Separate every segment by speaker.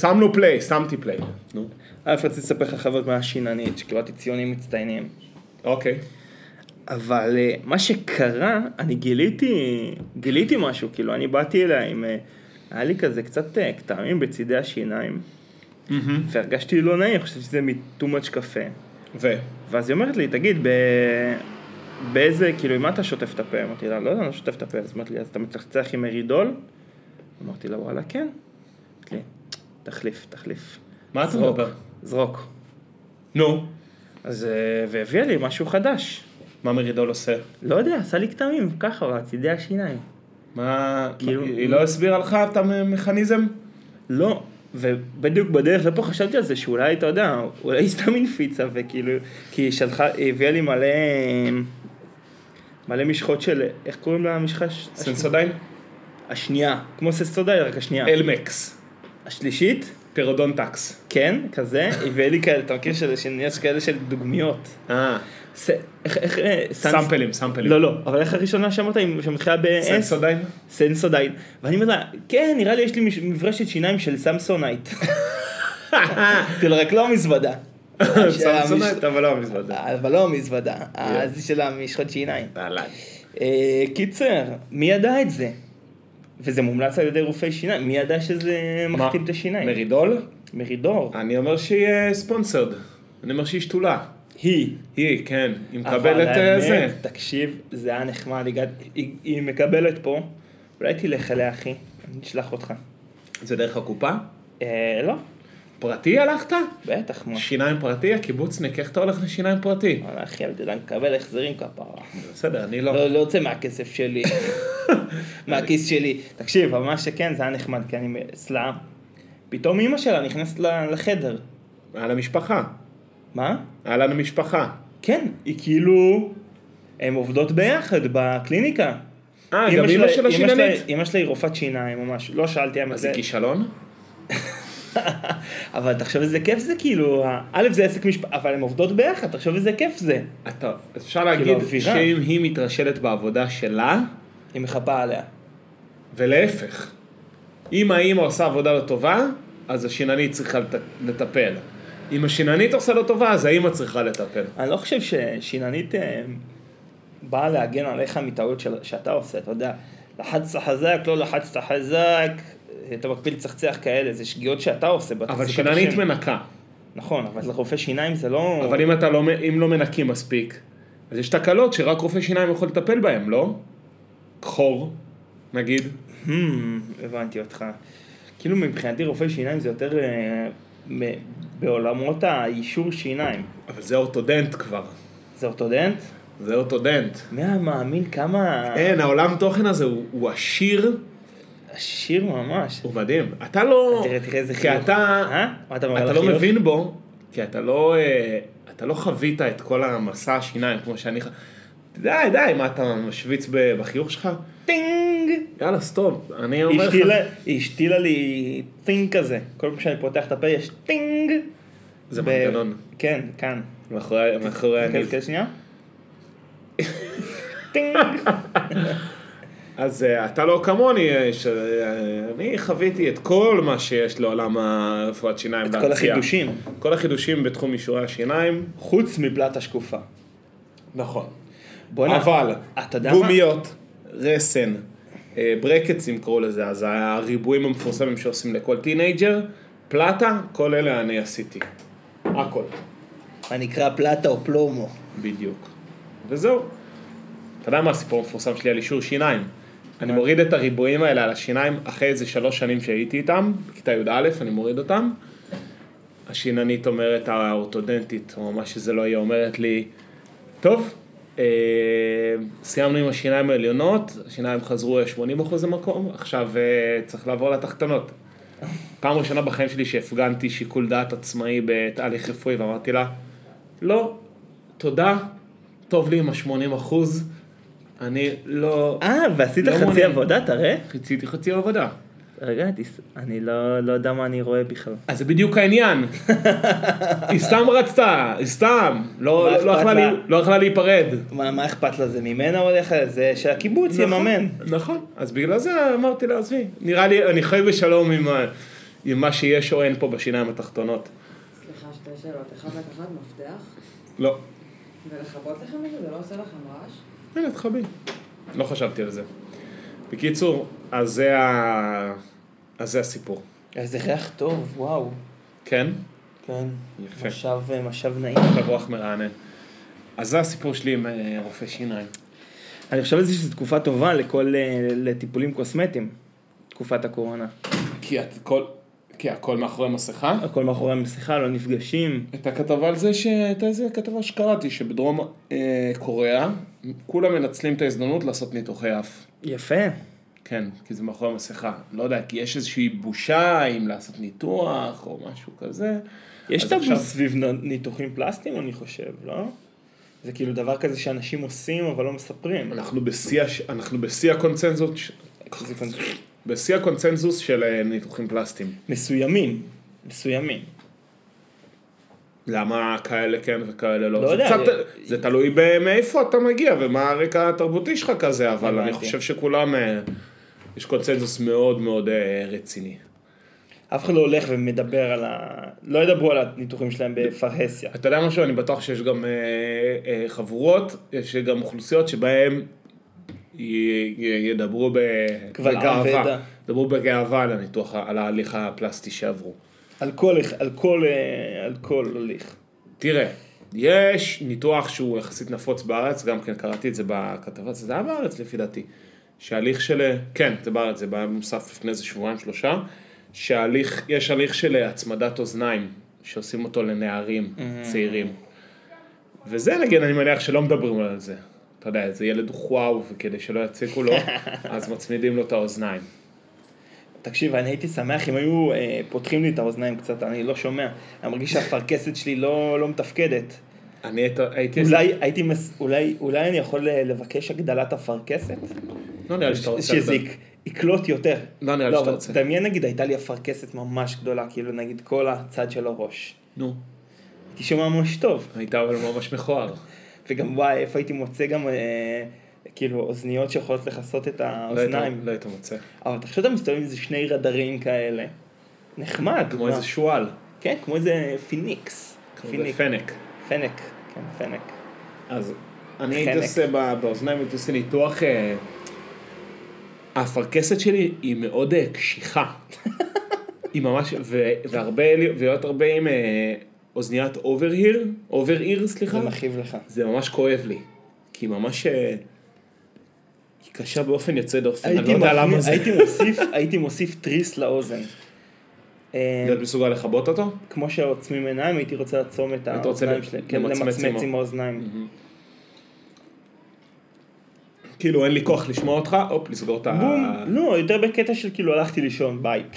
Speaker 1: שמנו פליי, שמתי פליי.
Speaker 2: נו. א', רציתי לספר לא לך חבר מהשיננית, שקיבלתי ציונים מצטיינים.
Speaker 1: אוקיי.
Speaker 2: אבל אה, מה שקרה, אני גיליתי, גיליתי משהו, כאילו, אני באתי אליה עם, אה, היה לי כזה קצת אה, קטעמים בצידי השיניים, והרגשתי לא נעים, חשבתי שזה מ-too much קפה.
Speaker 1: ו?
Speaker 2: ואז היא אומרת לי, תגיד, ב... באיזה, כאילו, עם מה אתה שוטף את הפה? אמרתי לה, לא יודע, אני לא שוטף את הפה. אז אמרתי לי, אז אתה מצחצח עם מרידול? אמרתי לה, וואלה, כן. אמרתי לי, תחליף, תחליף.
Speaker 1: מה אתה
Speaker 2: זרוק,
Speaker 1: מדבר?
Speaker 2: זרוק.
Speaker 1: נו.
Speaker 2: אז, אה, והביאה לי משהו חדש.
Speaker 1: מה מרידול עושה?
Speaker 2: לא יודע, עשה לי כתמים, ככה, בצידי השיניים.
Speaker 1: מה...
Speaker 2: כאילו-
Speaker 1: היא לא הסבירה לך את המכניזם?
Speaker 2: לא, ובדיוק בדרך לפה חשבתי על זה שאולי, אתה יודע, אולי היא סתם הנפיצה, וכאילו, כי היא שלחה, היא הביאה לי מלא, מלא משחות של, איך קוראים לה המשחה? הש-
Speaker 1: סנסודיין?
Speaker 2: השנייה, כמו ססודאי, רק השנייה.
Speaker 1: אלמקס.
Speaker 2: השלישית,
Speaker 1: פירודונטקס.
Speaker 2: כן, כזה, הביא לי כאלה, אתה מכיר שזה, שיש כאלה של דוגמיות.
Speaker 1: אה.
Speaker 2: ס- איך, איך, אה, סנס-
Speaker 1: סאמפלים, סאמפלים.
Speaker 2: לא, לא, אבל איך הראשונה שאמרת, עם- שמתחילה
Speaker 1: אה,
Speaker 2: ב-S?
Speaker 1: סנסודיין?
Speaker 2: סנסודייט. ואני אומר לה, כן, נראה לי יש לי מש- מברשת שיניים של סמסונייט. כאילו, רק לא המזוודה.
Speaker 1: סנסודיין, אבל לא המזוודה.
Speaker 2: אבל לא המזוודה, אז של המשחות שיניים.
Speaker 1: אהלן.
Speaker 2: אה, קיצר, מי ידע את זה? וזה מומלץ על ידי רופאי שיניים, מי ידע שזה
Speaker 1: מה?
Speaker 2: מכתים את השיניים?
Speaker 1: מרידול?
Speaker 2: מרידור.
Speaker 1: אני אומר שהיא ספונסרד. אני אומר שהיא שתולה.
Speaker 2: היא.
Speaker 1: היא, כן. היא
Speaker 2: אבל
Speaker 1: מקבלת אה,
Speaker 2: האמת,
Speaker 1: זה.
Speaker 2: תקשיב, זה היה נחמד, הגעת- היא- היא מקבלת פה, אולי תלך אליה אחי, אני אשלח אותך.
Speaker 1: זה דרך הקופה?
Speaker 2: אה, לא,
Speaker 1: פרטי הלכת?
Speaker 2: בטח, מה.
Speaker 1: שיניים פרטי? הקיבוצניק, איך אתה הולך לשיניים פרטי?
Speaker 2: וואלה, אחי, אל תדע, מקבל החזרים כפרה.
Speaker 1: בסדר, אני
Speaker 2: לא, לא יוצא מהכסף שלי, מהכיס שלי. תקשיב, אבל מה שכן, זה היה נחמד, כי אני אצלה, פתאום אימא שלה נכנסת ל- לחדר.
Speaker 1: על המשפחה.
Speaker 2: מה?
Speaker 1: אהלן המשפחה.
Speaker 2: כן, היא כאילו, הן עובדות ביחד בקליניקה.
Speaker 1: אה, גם אימא שלה שיננית?
Speaker 2: אימא שלה היא רופאת שיניים או משהו, לא שאלתי האמת.
Speaker 1: אז
Speaker 2: זה-
Speaker 1: זה כישלון?
Speaker 2: אבל תחשוב איזה כיף זה כאילו, ה- א' זה עסק משפחה, אבל הן עובדות ביחד, תחשוב איזה כיף זה.
Speaker 1: אתה, אפשר
Speaker 2: כאילו,
Speaker 1: להגיד
Speaker 2: האווירה.
Speaker 1: שאם היא מתרשלת בעבודה שלה,
Speaker 2: היא מחפה עליה.
Speaker 1: ולהפך. אם האימא עושה עבודה לא טובה, אז השיננית צריכה לט- לטפל. אם השיננית עושה לא טובה, אז האימא צריכה לטפל.
Speaker 2: אני לא חושב ששיננית אה, באה להגן עליך מטעויות של- שאתה עושה, אתה יודע, לחצת חזק, לא לחצת חזק, אה, אתה מקפיד לצחצח כאלה, זה שגיאות שאתה עושה.
Speaker 1: אבל
Speaker 2: בתחזוקת
Speaker 1: שיננית
Speaker 2: השם.
Speaker 1: מנקה.
Speaker 2: נכון, אבל לרופא שיניים זה לא...
Speaker 1: אבל אם אתה לא, מ- אם לא מנקים מספיק, אז יש תקלות שרק רופא שיניים יכול לטפל בהן, לא? חור, נגיד.
Speaker 2: Hmm, הבנתי אותך. כאילו מבחינתי רופא שיניים זה יותר אה, מ- בעולמות האישור שיניים.
Speaker 1: אבל זה אורתודנט כבר.
Speaker 2: זה אורתודנט?
Speaker 1: זה אורתודנט.
Speaker 2: מי היה מאמין כמה...
Speaker 1: אין, העולם תוכן הזה הוא, הוא עשיר,
Speaker 2: עשיר ממש.
Speaker 1: הוא מדהים. אתה לא...
Speaker 2: תראה, תראה איזה
Speaker 1: כי
Speaker 2: חיוך.
Speaker 1: אתה...
Speaker 2: אה? מה אתה מראה
Speaker 1: אתה
Speaker 2: על
Speaker 1: לא
Speaker 2: החיוך?
Speaker 1: מבין בו, כי אתה לא... אה, אתה לא חווית את כל המסע השיניים כמו שאני... ח- די, די, מה אתה משוויץ ב- בחיוך שלך?
Speaker 2: טינג!
Speaker 1: יאללה, סתום. אני
Speaker 2: היא
Speaker 1: אומר לך...
Speaker 2: השתילה- היא השתילה לי טינג כזה, כל פעם שאני פותח את הפה יש טינג.
Speaker 1: זה
Speaker 2: ב-
Speaker 1: מנגנון.
Speaker 2: כן, כאן.
Speaker 1: מאחורי מאחורי הניב.
Speaker 2: חלקה שנייה. טינג.
Speaker 1: אז אה, אתה לא כמוני, אה, ש- אה, אני חוויתי את כל מה שיש לעולם הרפואת שיניים
Speaker 2: כל החידושים.
Speaker 1: כל החידושים בתחום אישורי השיניים.
Speaker 2: חוץ מבלת השקופה.
Speaker 1: נכון.
Speaker 2: בוא'נה,
Speaker 1: אבל,
Speaker 2: אתה יודע מה?
Speaker 1: גומיות, רסן, אה, ברקטס אם קראו לזה, אז הריבועים המפורסמים שעושים לכל טינג'ר, פלטה, כל אלה אני עשיתי. הכל.
Speaker 2: מה נקרא פלטה או פלומו.
Speaker 1: בדיוק. וזהו. אתה יודע מה הסיפור המפורסם שלי על אישור שיניים? אני מוריד את הריבועים האלה על השיניים אחרי איזה שלוש שנים שהייתי איתם, בכיתה י"א, אני מוריד אותם. השיננית אומרת, האורתודנטית, או מה שזה לא יהיה, אומרת לי, טוב, אה, סיימנו עם השיניים העליונות, השיניים חזרו 80% למקום, עכשיו אה, צריך לעבור לתחתונות. פעם ראשונה בחיים שלי שהפגנתי שיקול דעת עצמאי בתהליך רפואי, ואמרתי לה, לא, תודה, טוב לי עם ה-80 אחוז, אני לא...
Speaker 2: אה, ועשית
Speaker 1: לא
Speaker 2: חצי
Speaker 1: מעוניין.
Speaker 2: עבודה, תראה.
Speaker 1: חציתי חצי עבודה.
Speaker 2: רגע, תס- אני לא לא יודע מה אני רואה בכלל.
Speaker 1: אז זה בדיוק העניין. היא סתם רצתה, היא סתם.
Speaker 2: מה
Speaker 1: לא- לא-
Speaker 2: אכפת
Speaker 1: לא יכלה
Speaker 2: לה?
Speaker 1: לי- לא יכלה להיפרד.
Speaker 2: מה מה אכפת לה, זה ממנה הולך? זה שהקיבוץ יממן.
Speaker 1: נכון, נכון. אז בגלל זה אמרתי לה, עזבי, נראה לי, אני חי בשלום עם ה... עם מה שיש או אין פה בשיניים התחתונות.
Speaker 3: סליחה, שתי שאלות. אחד לקחת מפתח
Speaker 1: לא.
Speaker 3: ולכבות לכם את זה, זה לא עושה לכם רעש?
Speaker 1: הנה, תחבי. לא חשבתי על זה. בקיצור, אז זה, ה... אז זה הסיפור.
Speaker 2: איזה ריח טוב, וואו.
Speaker 1: כן?
Speaker 2: כן.
Speaker 1: יפה.
Speaker 2: משב, משב נעים.
Speaker 1: עכשיו רוח מרענן. אז זה הסיפור שלי עם אה, רופא שיניים.
Speaker 2: אני חושב על זה שזו תקופה טובה לכל, אה, לטיפולים קוסמטיים. תקופת הקורונה.
Speaker 1: כי הכל, כי הכל מאחורי מסכה?
Speaker 2: הכל מאחורי המסכה, לא נפגשים.
Speaker 1: הייתה כתבה על זה שהייתה איזה כתבה שקראתי, שבדרום אה, קוריאה כולם מנצלים את ההזדמנות לעשות ניתוחי אף.
Speaker 2: יפה.
Speaker 1: כן, כי זה מאחורי המסכה. לא יודע, כי יש איזושהי בושה אם לעשות ניתוח או משהו כזה.
Speaker 2: יש
Speaker 1: אז
Speaker 2: טאבו
Speaker 1: עכשיו-
Speaker 2: סביב נ- ניתוחים פלסטיים, אני חושב, לא? זה כאילו דבר כזה שאנשים עושים, אבל לא מספרים.
Speaker 1: אנחנו בשיא, הש- אנחנו בשיא הקונצנזוס,
Speaker 2: זה כזה-
Speaker 1: בשיא הקונצנזוס של אה, ניתוחים פלסטיים.
Speaker 2: מסוימים. מסוימים.
Speaker 1: למה כאלה כן וכאלה לא?
Speaker 2: לא
Speaker 1: זה
Speaker 2: יודע,
Speaker 1: קצת,
Speaker 2: אני-
Speaker 1: זה תלוי ב- מאיפה אתה מגיע ומה הרקע התרבותי שלך כזה, אבל אני
Speaker 2: הבנתי.
Speaker 1: חושב שכולם, אה, יש קונצנזוס מאוד מאוד אה, רציני.
Speaker 2: אף אחד לא הולך ומדבר על ה... לא ידברו על הניתוחים שלהם בפרהסיה.
Speaker 1: אתה יודע משהו? אני בטוח שיש גם אה, אה, חבורות, יש גם אוכלוסיות שבהן י- י- ידברו ב-
Speaker 2: קבל עם ועדה.
Speaker 1: בגאווה, ידברו בגאווה על הניתוח, ה- על ההליך הפלסטי שעברו.
Speaker 2: על כל, על כל, אה, על כל הליך.
Speaker 1: תראה, יש ניתוח שהוא יחסית נפוץ בארץ, גם כן קראתי את זה בכתבה, זה היה בארץ לפי דעתי, שההליך של, כן, זה בארץ, זה היה מוסף לפני איזה שבועיים שלושה, שההליך, יש הליך של הצמדת אוזניים, שעושים אותו
Speaker 2: Mm.
Speaker 1: לנערים צעירים. וזה נגיד, אני מניח שלא מדברים על זה. אתה יודע, איזה ילד הוא וואו, וכדי שלא יציקו לו, אז מצמידים לו את האוזניים.
Speaker 2: תקשיב, אני הייתי שמח אם היו אה, פותחים לי את האוזניים קצת, אני לא שומע. אני מרגיש שהפרכסת שלי לא, לא מתפקדת.
Speaker 1: אני היית- הייתי...
Speaker 2: אולי, הייתי מס... אולי, אולי אני יכול אה, לבקש הגדלת הפרכסת?
Speaker 1: לא נראה לי שאתה רוצה...
Speaker 2: שזה יק- יקלוט יותר.
Speaker 1: לא נראה לי
Speaker 2: לא,
Speaker 1: שאתה
Speaker 2: אבל
Speaker 1: רוצה.
Speaker 2: דמיין נגיד, הייתה לי הפרכסת ממש גדולה, כאילו נגיד כל הצד של הראש.
Speaker 1: נו,
Speaker 2: הייתי שומע ממש טוב.
Speaker 1: היית אבל ממש מכוער. לא
Speaker 2: וגם וואי, איפה הייתי מוצא גם אה, כאילו אוזניות שיכולות לכסות את
Speaker 1: לא היית-
Speaker 2: האוזניים.
Speaker 1: לא היית מוצא.
Speaker 2: אבל תחשוב שאתה מסתובב עם איזה שני רדרים כאלה. נחמד.
Speaker 1: כמו
Speaker 2: מה?
Speaker 1: איזה שועל.
Speaker 2: כן, כמו איזה פיניקס.
Speaker 1: כמו
Speaker 2: פיניק.
Speaker 1: בפנק.
Speaker 2: פנק. כן, פנק.
Speaker 1: אז אני
Speaker 2: חנק.
Speaker 1: הייתי עושה בא- באוזניים, הייתי עושה ניתוח... אה, האפרכסת שלי היא מאוד אה, קשיחה. היא ממש, ו- והרבה, ולהיות הרבה עם אה, אוזניית אובר היר, אובר איר סליחה,
Speaker 2: זה מכאיב לך.
Speaker 1: זה ממש כואב לי. כי היא ממש... אה, היא קשה באופן יוצא דופן, אני לא
Speaker 2: הייתי
Speaker 1: יודע
Speaker 2: מחמיא-
Speaker 1: למה זה.
Speaker 2: הייתי מוסיף- הייתי מוסיף תריס לאוזן. אה,
Speaker 1: להיות מסוגל לכבות אותו?
Speaker 2: כמו שעוצמים עיניים, הייתי רוצה לעצום את
Speaker 1: היית רוצה
Speaker 2: האוזניים
Speaker 1: ל-
Speaker 2: שלהם. כן,
Speaker 1: למצמץ
Speaker 2: למצמץ
Speaker 1: עם ה-
Speaker 2: עם האוזניים.
Speaker 1: כאילו אין לי כוח לשמוע אותך, הופ, לסגור את ה...
Speaker 2: בום. לא, יותר בקטע של כאילו הלכתי לישון, ביי.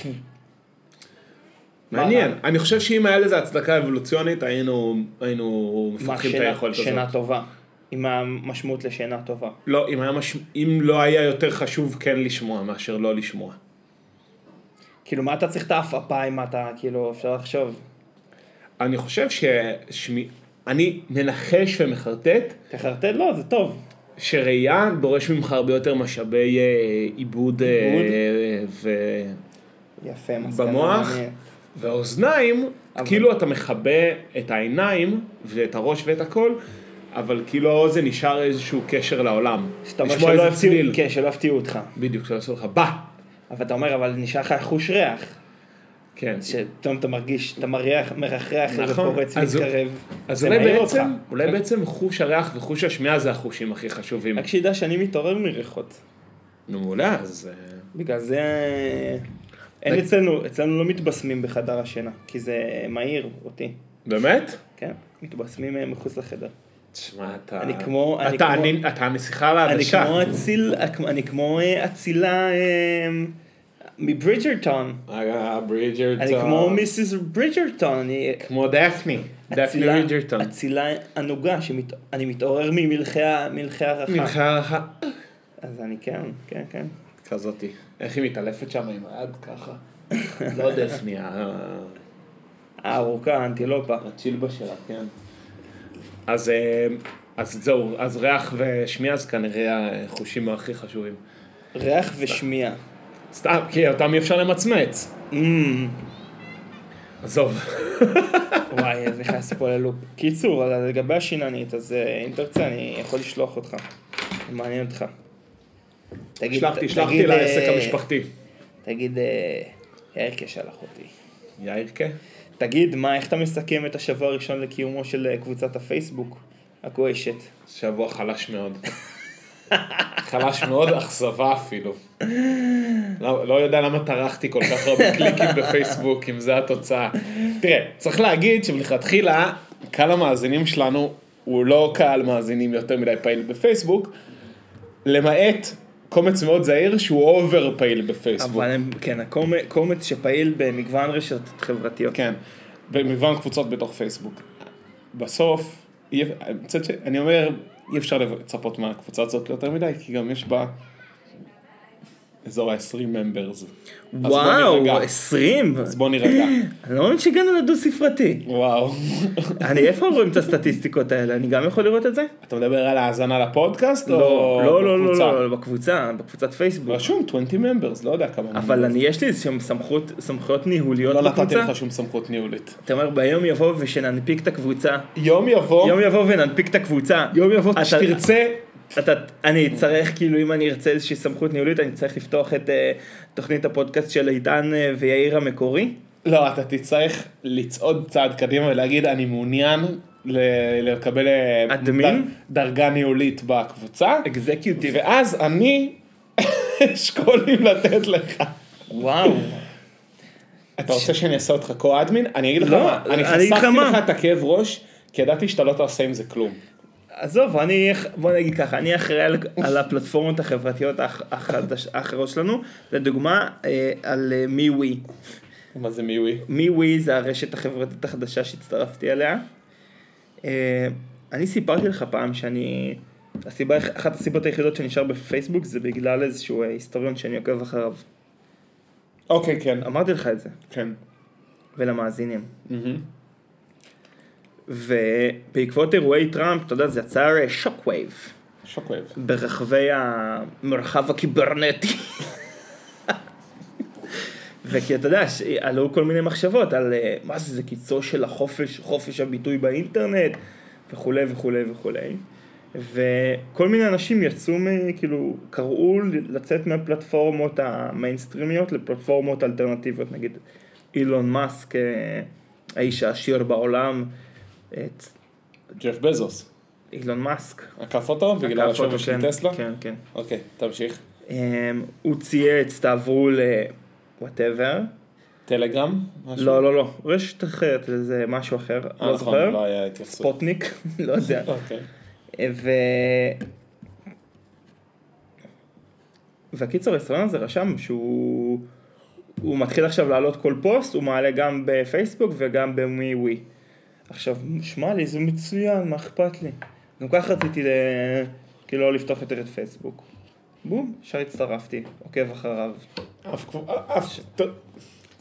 Speaker 1: מעניין, אני חושב שאם היה לזה הצדקה אבולוציונית, היינו, היינו
Speaker 2: מה,
Speaker 1: מפתחים את
Speaker 2: שינה-
Speaker 1: היכולת הזאת.
Speaker 2: שינה טובה. עם המשמעות לשינה טובה.
Speaker 1: לא, אם, היה מש... אם לא היה יותר חשוב כן לשמוע מאשר לא לשמוע.
Speaker 2: כאילו, מה אתה צריך את העפעפה אם אתה, כאילו, אפשר לחשוב.
Speaker 1: אני חושב ששמי... אני מנחש ומחרטט
Speaker 2: תחרטט? לא, זה טוב.
Speaker 1: שראייה דורש ממך הרבה יותר משאבי אה, עיבוד,
Speaker 2: עיבוד.
Speaker 1: אה, ו...
Speaker 2: יפה, מסקנה.
Speaker 1: במוח?
Speaker 2: מעניינת.
Speaker 1: והאוזניים,
Speaker 2: אבל-
Speaker 1: כאילו אתה מכבה את העיניים ואת הראש ואת הכל, אבל כאילו האוזן נשאר איזשהו קשר לעולם.
Speaker 2: שאתה אומר
Speaker 1: לשמוע
Speaker 2: שלא
Speaker 1: איזה
Speaker 2: יפתיעו-
Speaker 1: צליל.
Speaker 2: כן, שלא יפתיעו אותך.
Speaker 1: בדיוק, שלא עשו לך, בא!
Speaker 2: אבל אתה אומר, אבל נשאר לך חוש ריח.
Speaker 1: כן.
Speaker 2: שפתאום אתה מרגיש, אתה מריח, מרחרח, איזה
Speaker 1: נכון.
Speaker 2: פורץ
Speaker 1: אז-
Speaker 2: מתקרב.
Speaker 1: אז
Speaker 2: זה
Speaker 1: אולי
Speaker 2: מעיר
Speaker 1: בעצם,
Speaker 2: אותך.
Speaker 1: אולי בעצם חוש הריח וחוש השמיעה זה החושים הכי חשובים.
Speaker 2: רק שידע שאני מתעורר מריחות.
Speaker 1: נו מעולה, אז... אה,
Speaker 2: בגלל זה... אין
Speaker 1: רק-
Speaker 2: אצלנו, אצלנו לא מתבשמים בחדר השינה, כי זה מעיר אותי,
Speaker 1: באמת?
Speaker 2: כן? מתבשמים אה, מחוץ לחדר.
Speaker 1: תשמע, אתה...
Speaker 2: אני כמו- אני
Speaker 1: אתה
Speaker 2: כמו-
Speaker 1: אני- אתה הנסיכה על
Speaker 2: אני
Speaker 1: העדשה.
Speaker 2: כמו אציל, אני כמו אה, אצילה אה, מברידג'רטון.
Speaker 1: אה, ברידג'רטון.
Speaker 2: אני כמו מיסיס ברידג'רטון, אני
Speaker 1: כמו דפני. דפני
Speaker 2: אצילה-
Speaker 1: ברידג'רטון.
Speaker 2: אצילה ענוגה, שאני מתעורר ממלכי ה- מלכי הרחה.
Speaker 1: מנחה הערכה.
Speaker 2: אז אני כן, כן, כן.
Speaker 1: כזאתי. איך היא מתעלפת שם עם היד ככה? לא דפני, אה. ה-
Speaker 2: הארוכה, האנטילופה.
Speaker 1: הצ'ילבה שלה, כן. אז, אה, אז זהו, אז ריח ושמיעה זה כנראה החושים הכי חשובים.
Speaker 2: ריח ושמיעה.
Speaker 1: סתם, כי אותם אי אפשר למצמץ.
Speaker 2: Mm,
Speaker 1: עזוב.
Speaker 2: וואי, אז נכנס פה ללופ. קיצור, אז לגבי השיננית, אז אה, אם תרצה אני יכול לשלוח אותך. מעניין אותך. תגיד-
Speaker 1: שלחתי,
Speaker 2: ת-
Speaker 1: שלחתי
Speaker 2: תגיד,
Speaker 1: לעסק
Speaker 2: אה,
Speaker 1: המשפחתי.
Speaker 2: תגיד, אה, ירקה שלח אותי.
Speaker 1: יאירקה?
Speaker 2: תגיד, מה, איך אתה מסכם את השבוע הראשון לקיומו של אה, קבוצת הפייסבוק? הגועשת.
Speaker 1: שבוע חלש מאוד. חלש מאוד, אכזבה אפילו. לא, לא יודע למה טרחתי כל כך הרבה קליקים בפייסבוק, אם זו התוצאה. תראה, צריך להגיד שמלכתחילה, קהל המאזינים שלנו הוא לא קהל מאזינים יותר מדי פעיל בפייסבוק, למעט קומץ מאוד זהיר שהוא אובר פעיל בפייסבוק.
Speaker 2: אבל הם, כן, הקומ- קומץ שפעיל במגוון רשתות חברתיות.
Speaker 1: כן, במגוון קבוצות בתוך פייסבוק. בסוף, אי- מצד שני, אני אומר, אי אפשר לצפות מהקבוצה הזאת יותר מדי, כי גם יש בה אזור ה-20 ממברס.
Speaker 2: וואו, 20?
Speaker 1: אז בוא נירגע.
Speaker 2: אני לא מאמין שהגענו לדו ספרתי.
Speaker 1: וואו.
Speaker 2: אני איפה רואים את הסטטיסטיקות האלה? אני גם יכול לראות את זה?
Speaker 1: אתה מדבר על ההאזנה לפודקאסט או
Speaker 2: לא, לא, לא, לא,
Speaker 1: בקבוצה? לא,
Speaker 2: לא, לא, בקבוצה, בקבוצת פייסבוק.
Speaker 1: רשום 20 ממברס, לא יודע כמה.
Speaker 2: אבל
Speaker 1: members.
Speaker 2: אני, יש לי איזשהם סמכות, סמכויות ניהוליות
Speaker 1: לא נתתי
Speaker 2: בקבוצה.
Speaker 1: לך שום סמכות ניהולית.
Speaker 2: אתה אומר ביום יבוא ושננפיק את הקבוצה.
Speaker 1: יום יבוא,
Speaker 2: יום יבוא וננפיק את הקבוצה.
Speaker 1: יום יבוא,
Speaker 2: אתה-
Speaker 1: שתרצה,
Speaker 2: אתה, אני אצטרך, כאילו, אם אני ארצה איזושהי סמכות ניהולית, אני צריך לפתוח את אה, תוכנית הפודקאסט של איתן אה, ויאיר המקורי.
Speaker 1: לא, אתה תצטרך לצעוד צעד קדימה ולהגיד, אני מעוניין ל- לקבל אה,
Speaker 2: אדמין?
Speaker 1: ד- דרגה ניהולית בקבוצה,
Speaker 2: אקזקיוטיב.
Speaker 1: ואז אני אשקול אם לתת לך.
Speaker 2: וואו.
Speaker 1: אתה רוצה שאני אעשה אותך co-admin? אני אגיד לך
Speaker 2: לא,
Speaker 1: מה, אני
Speaker 2: אני אגיד לך
Speaker 1: חסכתי
Speaker 2: מה.
Speaker 1: לך את הכאב ראש, כי ידעתי שאתה לא תעשה עם זה כלום.
Speaker 2: עזוב, אני, בוא נגיד ככה, אני אחראי על, על הפלטפורמות החברתיות האח- החדש- האחרות שלנו, לדוגמה, אה, על אה, מי ווי.
Speaker 1: מה זה מיווי?
Speaker 2: מי ווי זה הרשת החברתית החדשה שהצטרפתי אליה. אה, אני סיפרתי לך פעם שאני, הסיבה, אחת הסיבות היחידות שאני נשאר בפייסבוק זה בגלל איזשהו אה, היסטוריון שאני עוקב אחריו.
Speaker 1: אוקיי, כן.
Speaker 2: אמרתי לך את זה,
Speaker 1: כן.
Speaker 2: ולמאזינים.
Speaker 1: מהמם.
Speaker 2: ובעקבות אירועי טראמפ, אתה יודע, זה יצר אה, שוק וייב
Speaker 1: שוקוייב.
Speaker 2: ברחבי המרחב הקיברנטי. וכי אתה יודע, ש- עלו כל מיני מחשבות על אה, מה זה, זה קיצו של החופש, חופש הביטוי באינטרנט וכולי וכולי וכולי. וכל מיני אנשים יצאו, מ- כאילו, קראו ל- לצאת מהפלטפורמות המיינסטרימיות לפלטפורמות אלטרנטיביות, נגיד אילון מאסק, אה, האיש העשיר בעולם, את
Speaker 1: ג'ף בזוס.
Speaker 2: אילון מאסק.
Speaker 1: עקף אותו בגלל
Speaker 2: עקף
Speaker 1: השווי
Speaker 2: אותו,
Speaker 1: של
Speaker 2: כן,
Speaker 1: טסלה?
Speaker 2: כן, כן.
Speaker 1: אוקיי, תמשיך.
Speaker 2: אמ, הוא צייץ, תעברו ל... וואטאבר.
Speaker 1: טלגרם? משהו?
Speaker 2: לא, לא, לא. רשת אחרת, זה משהו אחר.
Speaker 1: אה,
Speaker 2: לא
Speaker 1: נכון,
Speaker 2: זוכר.
Speaker 1: לא היה התייחסות.
Speaker 2: ספוטניק, לא יודע.
Speaker 1: אוקיי.
Speaker 2: ו... והקיצור הישראלן הזה רשם שהוא... הוא מתחיל עכשיו להעלות כל פוסט, הוא מעלה גם בפייסבוק וגם במי ווי. עכשיו, שמע לי, זה מצוין, מה אכפת לי? גם כך רציתי ל... כאילו לא לפתוח יותר את פייסבוק. בום, ישר הצטרפתי, עוקב אחריו.
Speaker 1: אף קבוצה, אף... ת-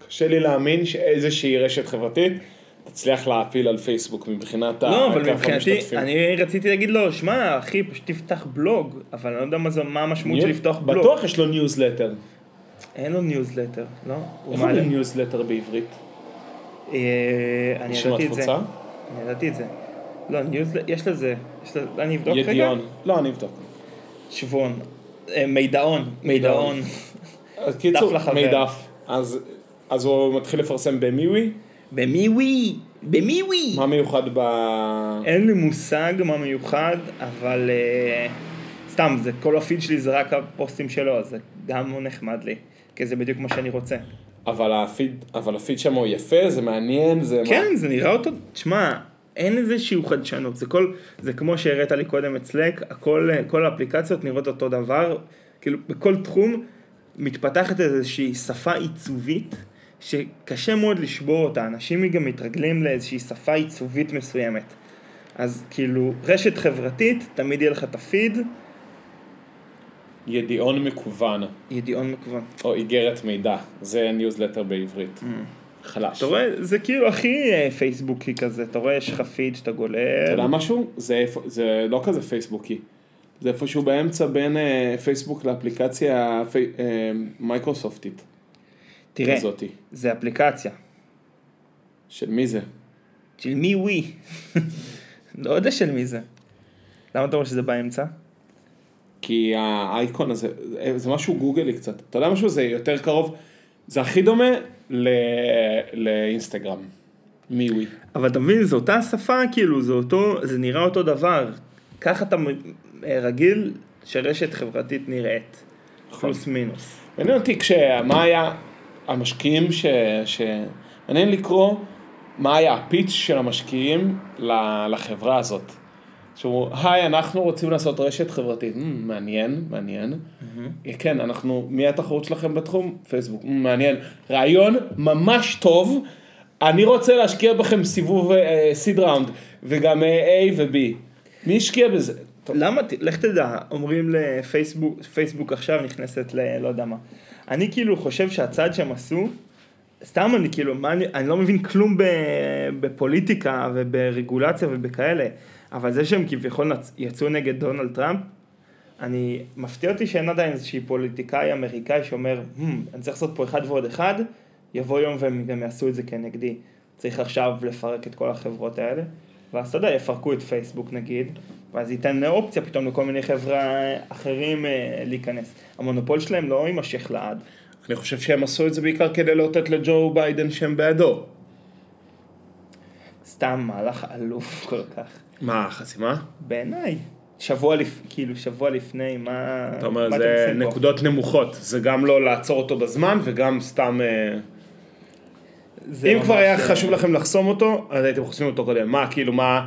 Speaker 1: קשה לי להאמין שאיזושהי רשת חברתית תצליח להפיל על פייסבוק מבחינת ה...
Speaker 2: לא,
Speaker 1: כמות
Speaker 2: אבל מבחינתי,
Speaker 1: המשתתפים.
Speaker 2: אני רציתי להגיד לו, שמע, אחי, פשוט תפתח בלוג, אבל אני לא יודע מה זה- מה המשמעות של לפתוח בלוג.
Speaker 1: בטוח יש לו ניוזלטר.
Speaker 2: אין לו ניוזלטר, לא? הוא
Speaker 1: איך
Speaker 2: מעלה.
Speaker 1: אומרים ניוזלטר בעברית?
Speaker 2: אה, אני
Speaker 1: שם
Speaker 2: ידעתי את זה.
Speaker 1: התפוצה?
Speaker 2: אני ידעתי את זה. לא, ניוז... יש לזה, יש לזה, אני אבדוק רגע.
Speaker 1: ידיעון. לא, אני אבדוק.
Speaker 2: שבועון. אה, מידעון, מידעון.
Speaker 1: אז קיצור,
Speaker 2: לחבר.
Speaker 1: מידף. אז אז הוא מתחיל לפרסם במיווי.
Speaker 2: במי ווי? במי ווי?
Speaker 1: מה מיוחד ב...
Speaker 2: אין לי מושג מה מיוחד, אבל אה, סתם, זה כל הפיד שלי זה רק הפוסטים שלו, אז זה גם לא נחמד לי, כי זה בדיוק מה שאני רוצה.
Speaker 1: אבל הפיד, אבל הפיד שם הוא יפה, זה מעניין, זה... מה-
Speaker 2: כן, זה נראה אותו, תשמע, אין איזושהי חדשנות, זה כל, זה כמו שהראית לי קודם את סלק, הכל, כל האפליקציות נראות אותו דבר, כאילו בכל תחום מתפתחת איזושהי שפה עיצובית, שקשה מאוד לשבור אותה, אנשים גם מתרגלים לאיזושהי שפה עיצובית מסוימת. אז כאילו, רשת חברתית, תמיד יהיה לך את הפיד,
Speaker 1: ידיעון מקוון,
Speaker 2: ידיעון מקוון.
Speaker 1: או איגרת מידע. זה ניוזלטר בעברית.
Speaker 2: Mm.
Speaker 1: חלש.
Speaker 2: אתה רואה, זה כאילו הכי אה, פייסבוקי כזה, אתה רואה, יש לך פיד שאתה גולל.
Speaker 1: אתה יודע משהו? זה, איפה, זה לא כזה פייסבוקי. זה איפשהו באמצע בין אה, פייסבוק לאפליקציה פי, אה, מייקרוסופטית
Speaker 2: תראה,
Speaker 1: כזאתי.
Speaker 2: זה אפליקציה.
Speaker 1: של מי זה?
Speaker 2: של מי ווי? לא יודע של מי זה. למה אתה אומר שזה באמצע?
Speaker 1: כי האייקון הזה, אה, זה משהו גוגלי קצת. אתה יודע משהו? זה יותר קרוב, זה הכי דומה ל... לאינסטגרם. מיווי.
Speaker 2: אבל אתה מבין, זו אותה שפה, כאילו, זה אותו, זה נראה אותו דבר. ככה אתה מ- אה, רגיל שרשת חברתית נראית. פלוס מינוס.
Speaker 1: מעניין אותי כשמה היה המשקיעים ש... ש... מעניין לקרוא מה היה הפיץ' של המשקיעים ל- לחברה הזאת. שאמרו, היי, אנחנו רוצים לעשות רשת חברתית. "מ, מעניין, מעניין. כן, אנחנו, מי התחרות שלכם בתחום? פייסבוק. "מ, מעניין. רעיון ממש טוב. אני רוצה להשקיע בכם סיבוב סיד ראונד, וגם אה, A ו-B. מי השקיע בזה? טוב,
Speaker 2: למה, ת- לך תדע, אומרים לפייסבוק, פייסבוק עכשיו נכנסת ל... לא יודע מה. אני כאילו חושב שהצעד שהם עשו, סתם אני כאילו, מה, אני, אני לא מבין כלום ב, בפוליטיקה וברגולציה ובכאלה, אבל זה שהם כביכול נצ- יצאו נגד דונלד טראמפ, אני, מפתיע אותי שאין עדיין איזשהי פוליטיקאי אמריקאי שאומר, "Hmm, אני צריך לעשות פה אחד ועוד אחד, יבוא יום והם גם יעשו את זה כנגדי. צריך עכשיו לפרק את כל החברות האלה, ואז אתה יודע, יפרקו את פייסבוק נגיד, ואז ייתן אופציה פתאום לכל מיני חברה אחרים אה, להיכנס. המונופול שלהם לא יימשך לעד.
Speaker 1: אני חושב שהם עשו את זה בעיקר כדי לאותת לג'ו ביידן שהם בעדו.
Speaker 2: סתם מהלך עלוב כל כך.
Speaker 1: מה, חסימה?
Speaker 2: בעיניי. שבוע לפ... כאילו, שבוע לפני, מה...
Speaker 1: אתה אומר,
Speaker 2: מה
Speaker 1: זה
Speaker 2: אתם עושים פה?
Speaker 1: נקודות נמוכות, זה גם לא לעצור אותו בזמן וגם סתם... אה,
Speaker 2: זה
Speaker 1: אם כבר
Speaker 2: ממש,
Speaker 1: היה
Speaker 2: אה,
Speaker 1: חשוב לכם לחסום אותו, אז הייתם חוסמים אותו קודם. מה, כאילו, מה...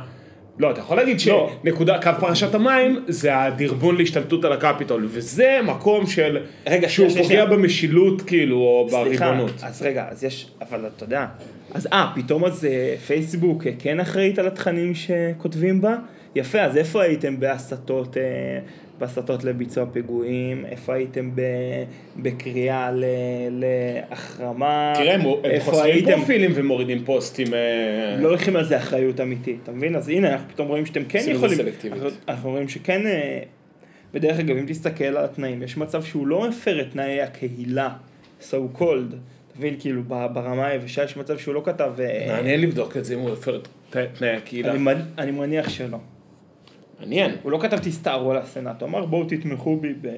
Speaker 1: לא, אתה יכול להגיד
Speaker 2: לא.
Speaker 1: שנקודה, קו פרשת המים, זה הדרבון להשתלטות על הקפיטול, וזה מקום של...
Speaker 2: רגע,
Speaker 1: שהוא
Speaker 2: שנייה,
Speaker 1: פוגע
Speaker 2: שנייה.
Speaker 1: במשילות, כאילו, או
Speaker 2: סליחה,
Speaker 1: בריבונות.
Speaker 2: אז רגע, אז יש, אבל אתה יודע, אז אה, פתאום אז אה, פייסבוק אה, כן אחראית על התכנים שכותבים בה? יפה, אז איפה הייתם בהסתות, אה, בהסתות לביצוע פיגועים? איפה הייתם ב, בקריאה ל- להחרמה?
Speaker 1: תראה, הם הם
Speaker 2: איפה
Speaker 1: חוסמים
Speaker 2: הייתם?
Speaker 1: פרופילים ומורידים פוסטים. אה,
Speaker 2: לא לוקחים על זה אחריות אמיתית, אתה מבין? אז הנה, אנחנו פתאום רואים שאתם כן
Speaker 1: עושים את זה
Speaker 2: יכולים...
Speaker 1: סלקטיבית.
Speaker 2: אנחנו- אנחנו רואים שכן... אה, ודרך אגב, אם תסתכל על התנאים, יש מצב שהוא לא מפר את תנאי הקהילה, so called. אתה מבין, כאילו, ב- ברמה היבשה יש מצב שהוא לא כתב... אה,
Speaker 1: מעניין לבדוק את זה אם הוא הפר את ת- תנאי הקהילה.
Speaker 2: אני מנ- אני מניח שלא.
Speaker 1: מעניין.
Speaker 2: הוא לא כתב תסתערו על הסנאט, הוא אמר בואו תתמכו בי ב...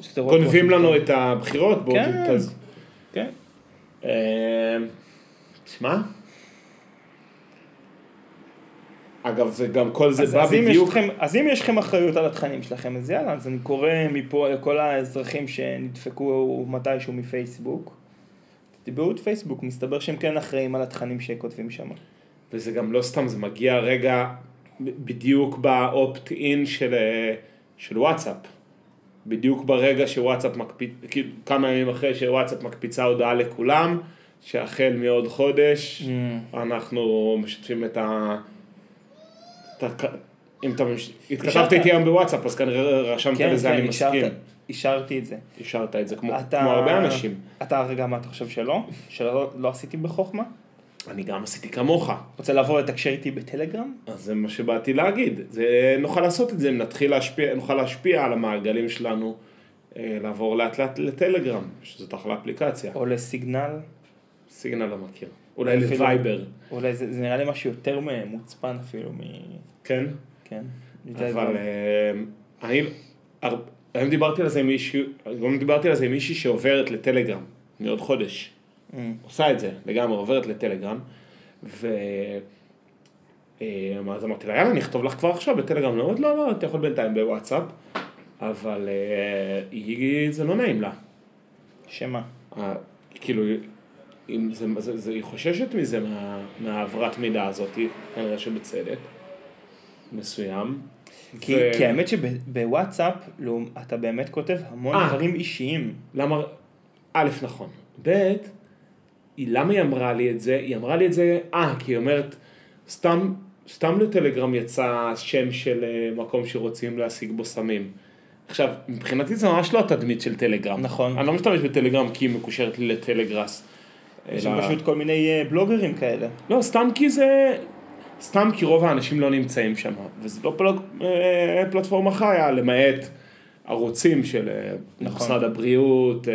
Speaker 2: שדרות
Speaker 1: גונבים
Speaker 2: וושינגטון."
Speaker 1: לנו את הבחירות, בואו
Speaker 2: לא, כן.
Speaker 1: נתאז.
Speaker 2: כן.
Speaker 1: אה, תשמע. אגב, זה גם כל זה
Speaker 2: אז,
Speaker 1: בא
Speaker 2: אז, אם יש
Speaker 1: בדיוק.
Speaker 2: לכם, אז אם יש לכם אחריות על התכנים שלכם, אז יאללה, אז אני קורא מפה לכל האזרחים שנדפקו מתישהו מפייסבוק. תתבעו את פייסבוק, מסתבר שהם כן אחראים על התכנים שכותבים שם.
Speaker 1: וזה גם לא סתם, זה מגיע רגע ב- בדיוק באופט-אין של, אה, של וואטסאפ. בדיוק ברגע שוואטסאפ מקפיץ, כאילו כמה ימים אחרי שוואטסאפ מקפיצה הודעה לכולם, שהחל מעוד חודש
Speaker 2: Mm. כן,
Speaker 1: אנחנו משתפים את ה... את ה... אם אתה... מש- התכתבת איתי היום בוואטסאפ, אז כנראה רשמת
Speaker 2: כן,
Speaker 1: לזה, כן, אני מסכים.
Speaker 2: אישרת- אישרתי את זה.
Speaker 1: אישרת את זה כמו, כמו הרבה אנשים.
Speaker 2: אתה רגע, מה אתה חושב שלא? שלא לא עשיתי בחוכמה?
Speaker 1: אני גם עשיתי כמוך,
Speaker 2: רוצה לעבור לתקשר איתי בטלגרם?
Speaker 1: אז זה מה שבאתי להגיד. זה, נוכל לעשות את זה אם נתחיל להשפיע, נוכל להשפיע על המעגלים שלנו, אה, לעבור לאט לאט לטלגרם, שזאת אחלה אפליקציה.
Speaker 2: או לסיגנל?
Speaker 1: סיגנל לא מכיר. אולי
Speaker 2: אפילו-
Speaker 1: לווייבר,
Speaker 2: אולי זה, זה נראה לי משהו יותר מוצפן אפילו מ...
Speaker 1: כן?
Speaker 2: כן.
Speaker 1: אבל אה, אני, הר- היום דיברתי על זה עם מישהו, גם דיברתי על זה עם מישהי שעוברת לטלגרם, מעוד חודש.
Speaker 2: אה,
Speaker 1: עושה את זה לגמרי, עוברת לטלגרם, ו... אה, אז אמרתי לה, יאללה, אני אכתוב לך כבר עכשיו בטלגרם, לא, אומרת, לא, לא, אתה יכול בינתיים בוואטסאפ, אבל אה, היא, זה לא נעים לה.
Speaker 2: שמה?
Speaker 1: אה, כאילו, אם זה, זה, זה, היא חוששת מזה, מה, מהעברת מידע הזאת, כנראה שבצדק, מסוים.
Speaker 2: כי, כן,
Speaker 1: ו-
Speaker 2: כי האמת שבוואטסאפ לא, אתה באמת כותב המון
Speaker 1: אה.
Speaker 2: דברים אישיים.
Speaker 1: למה, א', נכון, ב', היא, למה היא אמרה לי את זה? היא אמרה לי את זה, אה, כי היא אומרת, סתם, סתם לטלגרם יצא שם של אה, מקום שרוצים להשיג בו סמים. עכשיו, מבחינתי זה ממש לא התדמית של טלגרם.
Speaker 2: נכון.
Speaker 1: אני לא משתמש בטלגרם כי היא מקושרת לי לטלגראס.
Speaker 2: יש
Speaker 1: אלא-
Speaker 2: שם פשוט כל מיני אה, בלוגרים כאלה.
Speaker 1: לא, סתם כי זה... סתם כי רוב האנשים לא נמצאים שם, וזו לא פל... אה, פלטפורמה חיה, למעט ערוצים של אה,
Speaker 2: נכון.
Speaker 1: משרד הבריאות, אה,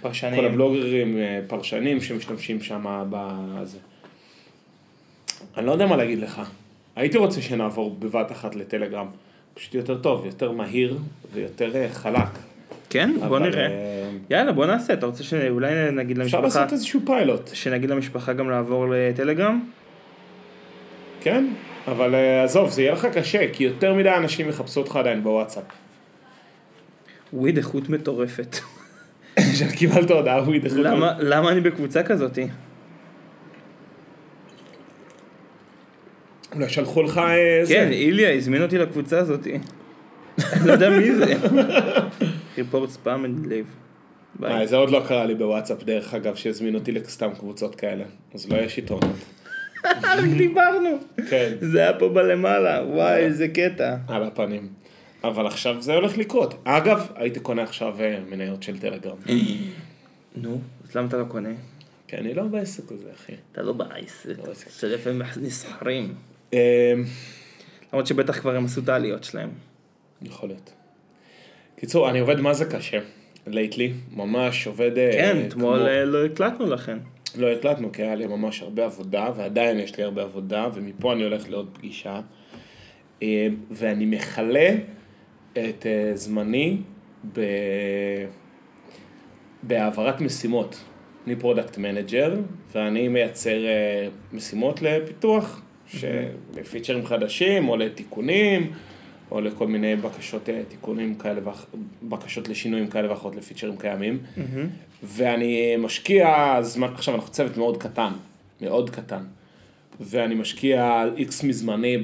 Speaker 2: פרשנים.
Speaker 1: כל הבלוגרים, אה, פרשנים שמשתמשים שם בזה. אני לא יודע מה להגיד לך. הייתי רוצה שנעבור בבת אחת לטלגרם. פשוט יותר טוב, יותר מהיר ויותר אה, חלק.
Speaker 2: כן? בוא
Speaker 1: אבל,
Speaker 2: נראה.
Speaker 1: אה,
Speaker 2: יאללה, בוא נעשה. אתה רוצה שאולי נגיד
Speaker 1: אפשר
Speaker 2: למשפחה,
Speaker 1: לעשות איזשהו פיילוט.
Speaker 2: שנגיד למשפחה גם לעבור לטלגרם?
Speaker 1: כן, אבל אה, עזוב, זה יהיה לך קשה, כי יותר מדי אנשים יחפשו אותך עדיין בוואטסאפ.
Speaker 2: וויד איכות מטורפת.
Speaker 1: קיבלת הודעה, הוא ידחו אותך.
Speaker 2: למה- למה אני בקבוצה כזאתי?
Speaker 1: אולי שלחו לך אה, זה.
Speaker 2: כן, איליה הזמין אותי לקבוצה הזאתי. אני לא יודע מי זה. ריפורט ספאם אנד לייב. ביי.
Speaker 1: אה, זה עוד לא קרה לי בוואטסאפ, דרך אגב, שהזמין אותי לסתם קבוצות כאלה. אז לא יש יתרונות.
Speaker 2: רק דיברנו.
Speaker 1: כן.
Speaker 2: זה היה פה בלמעלה, וואי, איזה קטע.
Speaker 1: על הפנים. אבל עכשיו זה הולך לקרות. אגב, הייתי קונה עכשיו אה, מניות של טלגרם.
Speaker 2: אה. נו, אז למה אתה לא קונה?
Speaker 1: כי אני לא בעסק הזה, אחי.
Speaker 2: אתה לא בעייס, תצטרף הם נסחרים.
Speaker 1: אה,
Speaker 2: למרות שבטח כבר הם עשו את העליות שלהם.
Speaker 1: יכול להיות. קיצור, אני עובד מה זה קשה. לייטלי, ממש עובד... אה,
Speaker 2: כן,
Speaker 1: כמו-
Speaker 2: אתמול אה, לא הקלטנו לכן.
Speaker 1: לא הקלטנו, כי היה לי ממש הרבה עבודה, ועדיין יש לי הרבה עבודה, ומפה אני הולך לעוד פגישה. אה, ואני מכלה את אה, זמני ב... בהעברת משימות. אני פרודקט מנג'ר, ואני מייצר אה, משימות לפיתוח, ש- לפיצ'רים חדשים, או לתיקונים, או לכל מיני בקשות אה, תיקונים כאלה ואחרות, בקשות לשינויים כאלה ואחרות לפיצ'רים קיימים. ואני משקיע זמן, עכשיו אנחנו צוות מאוד קטן, מאוד קטן, ואני משקיע איקס מזמני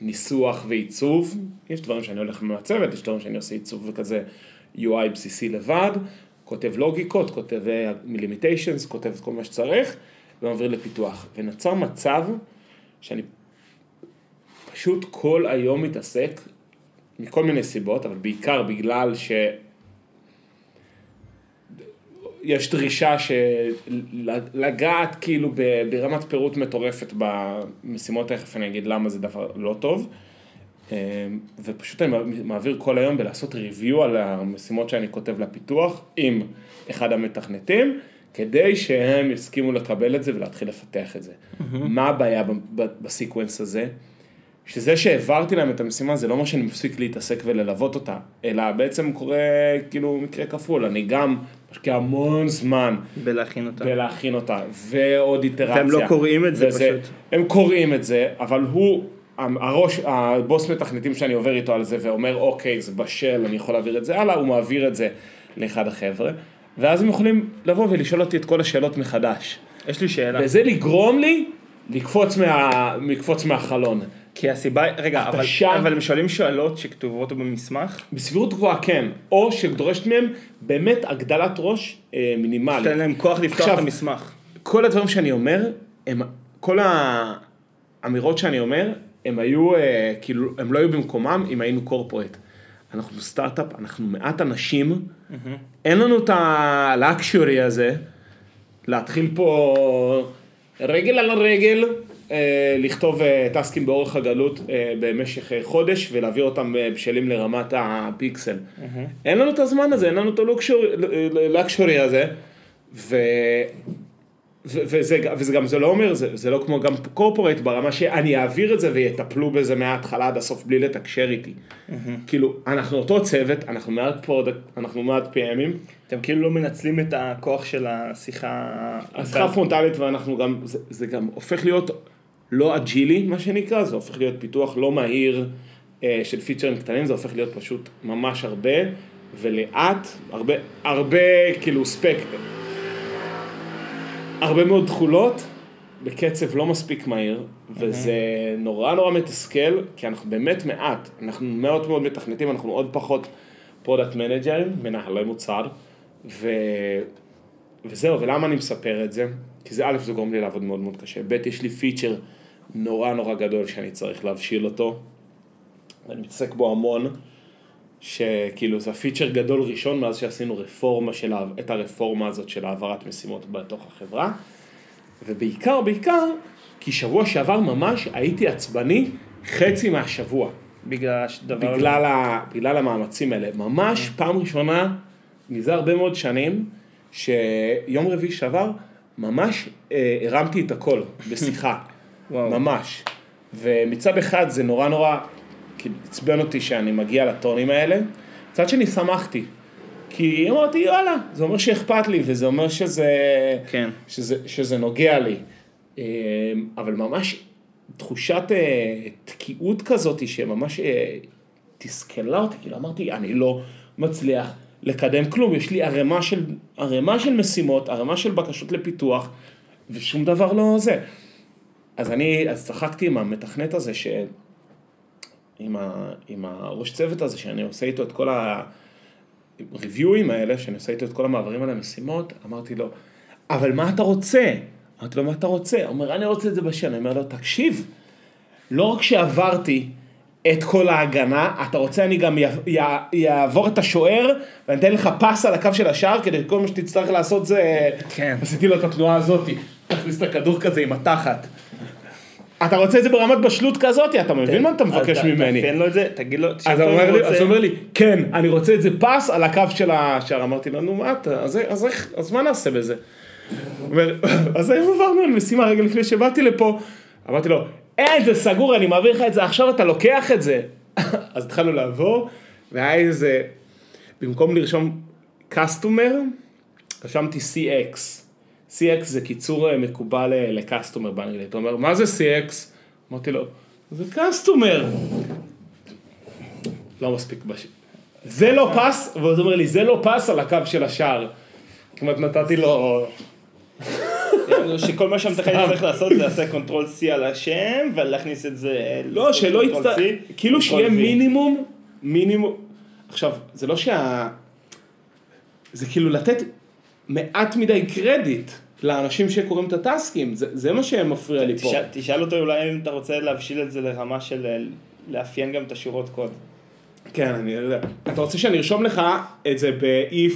Speaker 1: בניסוח ועיצוב, יש דברים שאני הולך עם הצוות, יש דברים שאני עושה עיצוב וכזה UI בסיסי לבד, כותב לוגיקות, כותב לימיטיישנס, כותב את כל מה שצריך, ומעביר לפיתוח. ונוצר מצב שאני פשוט כל היום מתעסק, מכל מיני סיבות, אבל בעיקר בגלל ש... יש דרישה שלגעת כאילו ב- ברמת פירוט מטורפת במשימות, תכף אני אגיד למה זה דבר לא טוב. אמ, ופשוט אני מעביר כל היום בלעשות ריוויו על המשימות שאני כותב לפיתוח עם אחד המתכנתים, כדי שהם יסכימו לקבל את זה ולהתחיל לפתח את זה. מה הבעיה ב- ב- בסקווינס הזה? שזה שהעברתי להם את המשימה זה לא אומר שאני מפסיק להתעסק וללוות אותה, אלא בעצם קורה כאילו מקרה כפול, אני גם משקיע המון זמן
Speaker 2: בלהכין אותה.
Speaker 1: ולהכין אותה, ועוד איטרציה.
Speaker 2: והם לא קוראים את זה פשוט.
Speaker 1: הם קוראים את זה, אבל הוא, הראש, הבוס מתכנתים שאני עובר איתו על זה ואומר, אוקיי, זה בשל, אני יכול להעביר את זה הלאה, הוא מעביר את זה לאחד החבר'ה, ואז הם יכולים לבוא ולשאול אותי את כל השאלות מחדש.
Speaker 2: יש לי שאלה.
Speaker 1: וזה לגרום לי לקפוץ, מה, לקפוץ מהחלון.
Speaker 2: כי הסיבה, רגע, אבל-
Speaker 1: שם-
Speaker 2: אבל הם שואלים שאלות שכתובות במסמך?
Speaker 1: בסבירות גבוהה כן, או שדורשת מהם באמת הגדלת ראש אה, מינימלית.
Speaker 2: תן להם כוח לפתוח
Speaker 1: עכשיו-
Speaker 2: את המסמך.
Speaker 1: כל הדברים שאני אומר, הם, כל האמירות שאני אומר, הם היו, אה, כאילו, הם לא היו במקומם אם היינו קורפורט. אנחנו סטארט-אפ, אנחנו מעט אנשים, אין לנו את הלקשורי הזה, להתחיל פה רגל על רגל, אה, לכתוב אה, טסקים באורך הגלות אה, במשך אה, חודש ולהעביר אותם אה, בשלים לרמת הפיקסל. אין לנו את הזמן הזה, אין לנו את הלקשורי הזה, ו... ו- וזה, וזה גם, זה לא אומר, זה, זה לא כמו גם קורפורט ברמה שאני אעביר את זה ויטפלו בזה מההתחלה עד הסוף בלי לתקשר איתי. כאילו, אנחנו אותו צוות, אנחנו מעט פרודקט, אנחנו מעט PMים,
Speaker 2: אתם כאילו לא מנצלים את הכוח של השיחה...
Speaker 1: השיחה פרונטלית ואנחנו גם, זה, זה גם הופך להיות לא אג'ילי, מה שנקרא, זה הופך להיות פיתוח לא מהיר אה, של פיצ'רים קטנים, זה הופך להיות פשוט ממש הרבה ולאט, הרבה, הרבה כאילו ספק, הרבה מאוד תכולות. בקצב לא מספיק מהיר, וזה נורא נורא מתסכל, כי אנחנו באמת מעט, אנחנו מאוד מאוד מתכנתים, אנחנו עוד פחות פרודקט מנג'רים, מנהלי מוצר, ו... וזהו, ולמה אני מספר את זה? כי זה א', זה גורם לי לעבוד מאוד מאוד קשה, ב', יש לי פיצ'ר נורא נורא גדול שאני צריך להבשיל אותו, ואני מתעסק בו המון, שכאילו זה הפיצ'ר גדול ראשון מאז שעשינו רפורמה של, ה- את הרפורמה הזאת של העברת משימות בתוך החברה, ובעיקר, בעיקר, כי שבוע שעבר ממש הייתי עצבני חצי מהשבוע.
Speaker 2: בגלל הדבר
Speaker 1: בגלל, ה, בגלל המאמצים האלה. ממש פעם ראשונה, מזה הרבה מאוד שנים, שיום רביעי שעבר, ממש אה, הרמתי את הכל בשיחה.
Speaker 2: וואו.
Speaker 1: ממש. ומצד אחד זה נורא נורא כאילו, עצבן אותי שאני מגיע לטונים האלה, מצד שני שמחתי. כי אמרתי יאללה, זה אומר שאכפת לי וזה אומר שזה,
Speaker 2: כן.
Speaker 1: שזה, שזה נוגע לי. אה, אבל ממש תחושת אה, תקיעות כזאת שממש אה, תסכלה אותי, כאילו אמרתי, אני לא מצליח לקדם כלום, יש לי ערימה של, ערימה של משימות, ערימה של בקשות לפיתוח, ושום דבר לא זה. אז אני, אז צחקתי עם המתכנת הזה, ש... עם, ה... עם הראש צוות הזה, שאני עושה איתו את כל הריוויואים האלה, שאני עושה איתו את כל המעברים על המשימות, אמרתי לו, אבל מה אתה רוצה? אמרתי לו, מה אתה רוצה? הוא אומר, אני רוצה את זה בשם. אני אומר לו, תקשיב, לא רק שעברתי את כל ההגנה, אתה רוצה אני גם אעבור את השוער ואני אתן לך פס על הקו של השער כדי כל מה שתצטרך לעשות זה...
Speaker 2: כן.
Speaker 1: עשיתי לו את התנועה הזאת, תכניס את הכדור כזה עם התחת. אתה רוצה את זה ברמת בשלות כזאת, אתה מבין מה אתה מבקש
Speaker 2: כן. אז ת-
Speaker 1: ממני.
Speaker 2: תפן לו את זה, תגיד לו,
Speaker 1: אז
Speaker 2: שאתה
Speaker 1: הוא אומר לי-
Speaker 2: רוצה.
Speaker 1: אז הוא אומר לי, כן, אני רוצה את זה פס על הקו של השער. אמרתי לו, נו מה אתה, אז אז איך, אז מה נעשה בזה? הוא אומר, אז היום עברנו על משימה רגע לפני שבאתי לפה. אמרתי לו, אין, זה סגור, אני מעביר לך את זה, עכשיו אתה לוקח את זה. אז התחלנו לעבור, והיה איזה, במקום לרשום customer, רשמתי CX. CX זה קיצור אה, מקובל אה, ל-customer באנגלית. הוא אומר, מה זה CX? אמרתי לו, זה customer. לא מספיק בש... זה לא פס, ואז הוא אומר לי, זה לא פס על הקו של השער. כמעט נתתי לו...
Speaker 2: כאילו, שכל מה שהמתכנת צריך לעשות זה לעשות קונטרול C על השם, ולהכניס את זה...
Speaker 1: לא, שלא
Speaker 2: Ctrl-C,
Speaker 1: יצטרך... כאילו
Speaker 2: Ctrl-V.
Speaker 1: שיהיה מינימום, מינימום... עכשיו, זה לא שה... זה כאילו לתת מעט מדי קרדיט לאנשים שקוראים את הטסקים, זה, זה מה שמפריע לי פה.
Speaker 2: תשאל- תשאל אותו אולי אם אתה רוצה להבשיל את זה לרמה של אה, לאפיין גם את השורות קוד.
Speaker 1: כן, אני יודע. אתה רוצה שאני ארשום לך את זה ב-if,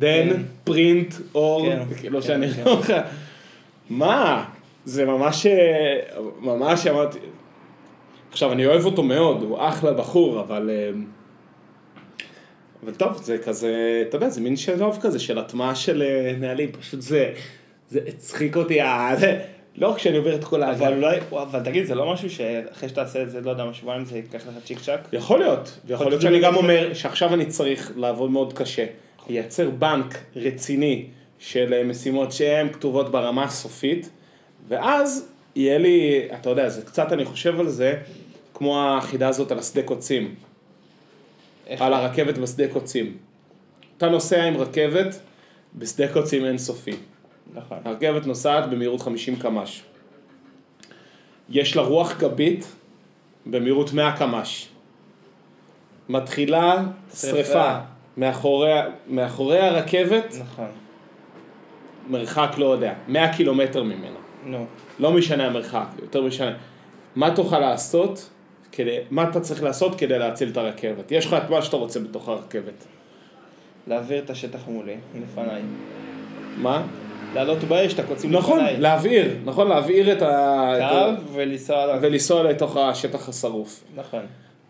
Speaker 1: then, print, or,
Speaker 2: כן,
Speaker 1: כאילו
Speaker 2: כן,
Speaker 1: שאני
Speaker 2: כן.
Speaker 1: ארשום לך. מה? זה ממש, אה, ממש אמרתי... עכשיו, אני אוהב אותו מאוד, הוא אחלה בחור, אבל... אה, אבל טוב, זה כזה, אתה יודע, זה מין שלב כזה של הטמעה של אה, נהלים, פשוט זה, זה הצחיק אותי, ה- זה- לא רק שאני עובר את כל
Speaker 2: אבל
Speaker 1: האגן.
Speaker 2: אולי, אבל תגיד, זה לא משהו שאחרי שתעשה את זה, לא יודע, מה שבועיים זה ייקח לך צ'יק צ'אק?
Speaker 1: יכול להיות, ויכול להיות שאני גם אומר שעכשיו אני צריך לעבוד מאוד קשה, לייצר בנק רציני של אה, משימות שהן כתובות ברמה הסופית, ואז יהיה לי, אתה יודע, זה קצת, אני חושב על זה, כמו החידה הזאת על השדה קוצים,
Speaker 2: איך-
Speaker 1: על הרכבת בשדה קוצים. אתה נוסע עם רכבת בשדה קוצים אינסופי.
Speaker 2: נכון.
Speaker 1: הרכבת נוסעת במהירות 50 קמ"ש. יש לה רוח גבית במהירות 100 קמ"ש. מתחילה
Speaker 2: שריפה.
Speaker 1: שריפה מאחורי, מאחורי הרכבת,
Speaker 2: נכון.
Speaker 1: מרחק לא יודע, 100 קילומטר ממנה.
Speaker 2: נו.
Speaker 1: לא משנה המרחק, יותר משנה. מה תוכל לעשות, כדי, מה אתה צריך לעשות כדי להציל את הרכבת? יש לך את מה שאתה רוצה בתוך הרכבת.
Speaker 2: להעביר את השטח מולי, לפניי.
Speaker 1: מה?
Speaker 2: לעלות באש, את הקוצים
Speaker 1: נכון,
Speaker 2: לפניי.
Speaker 1: להבעיר, נכון, להבעיר את ה... את ה-
Speaker 2: קו ולנסוע עליו.
Speaker 1: ולנסוע לתוך השטח השרוף.
Speaker 2: נכון.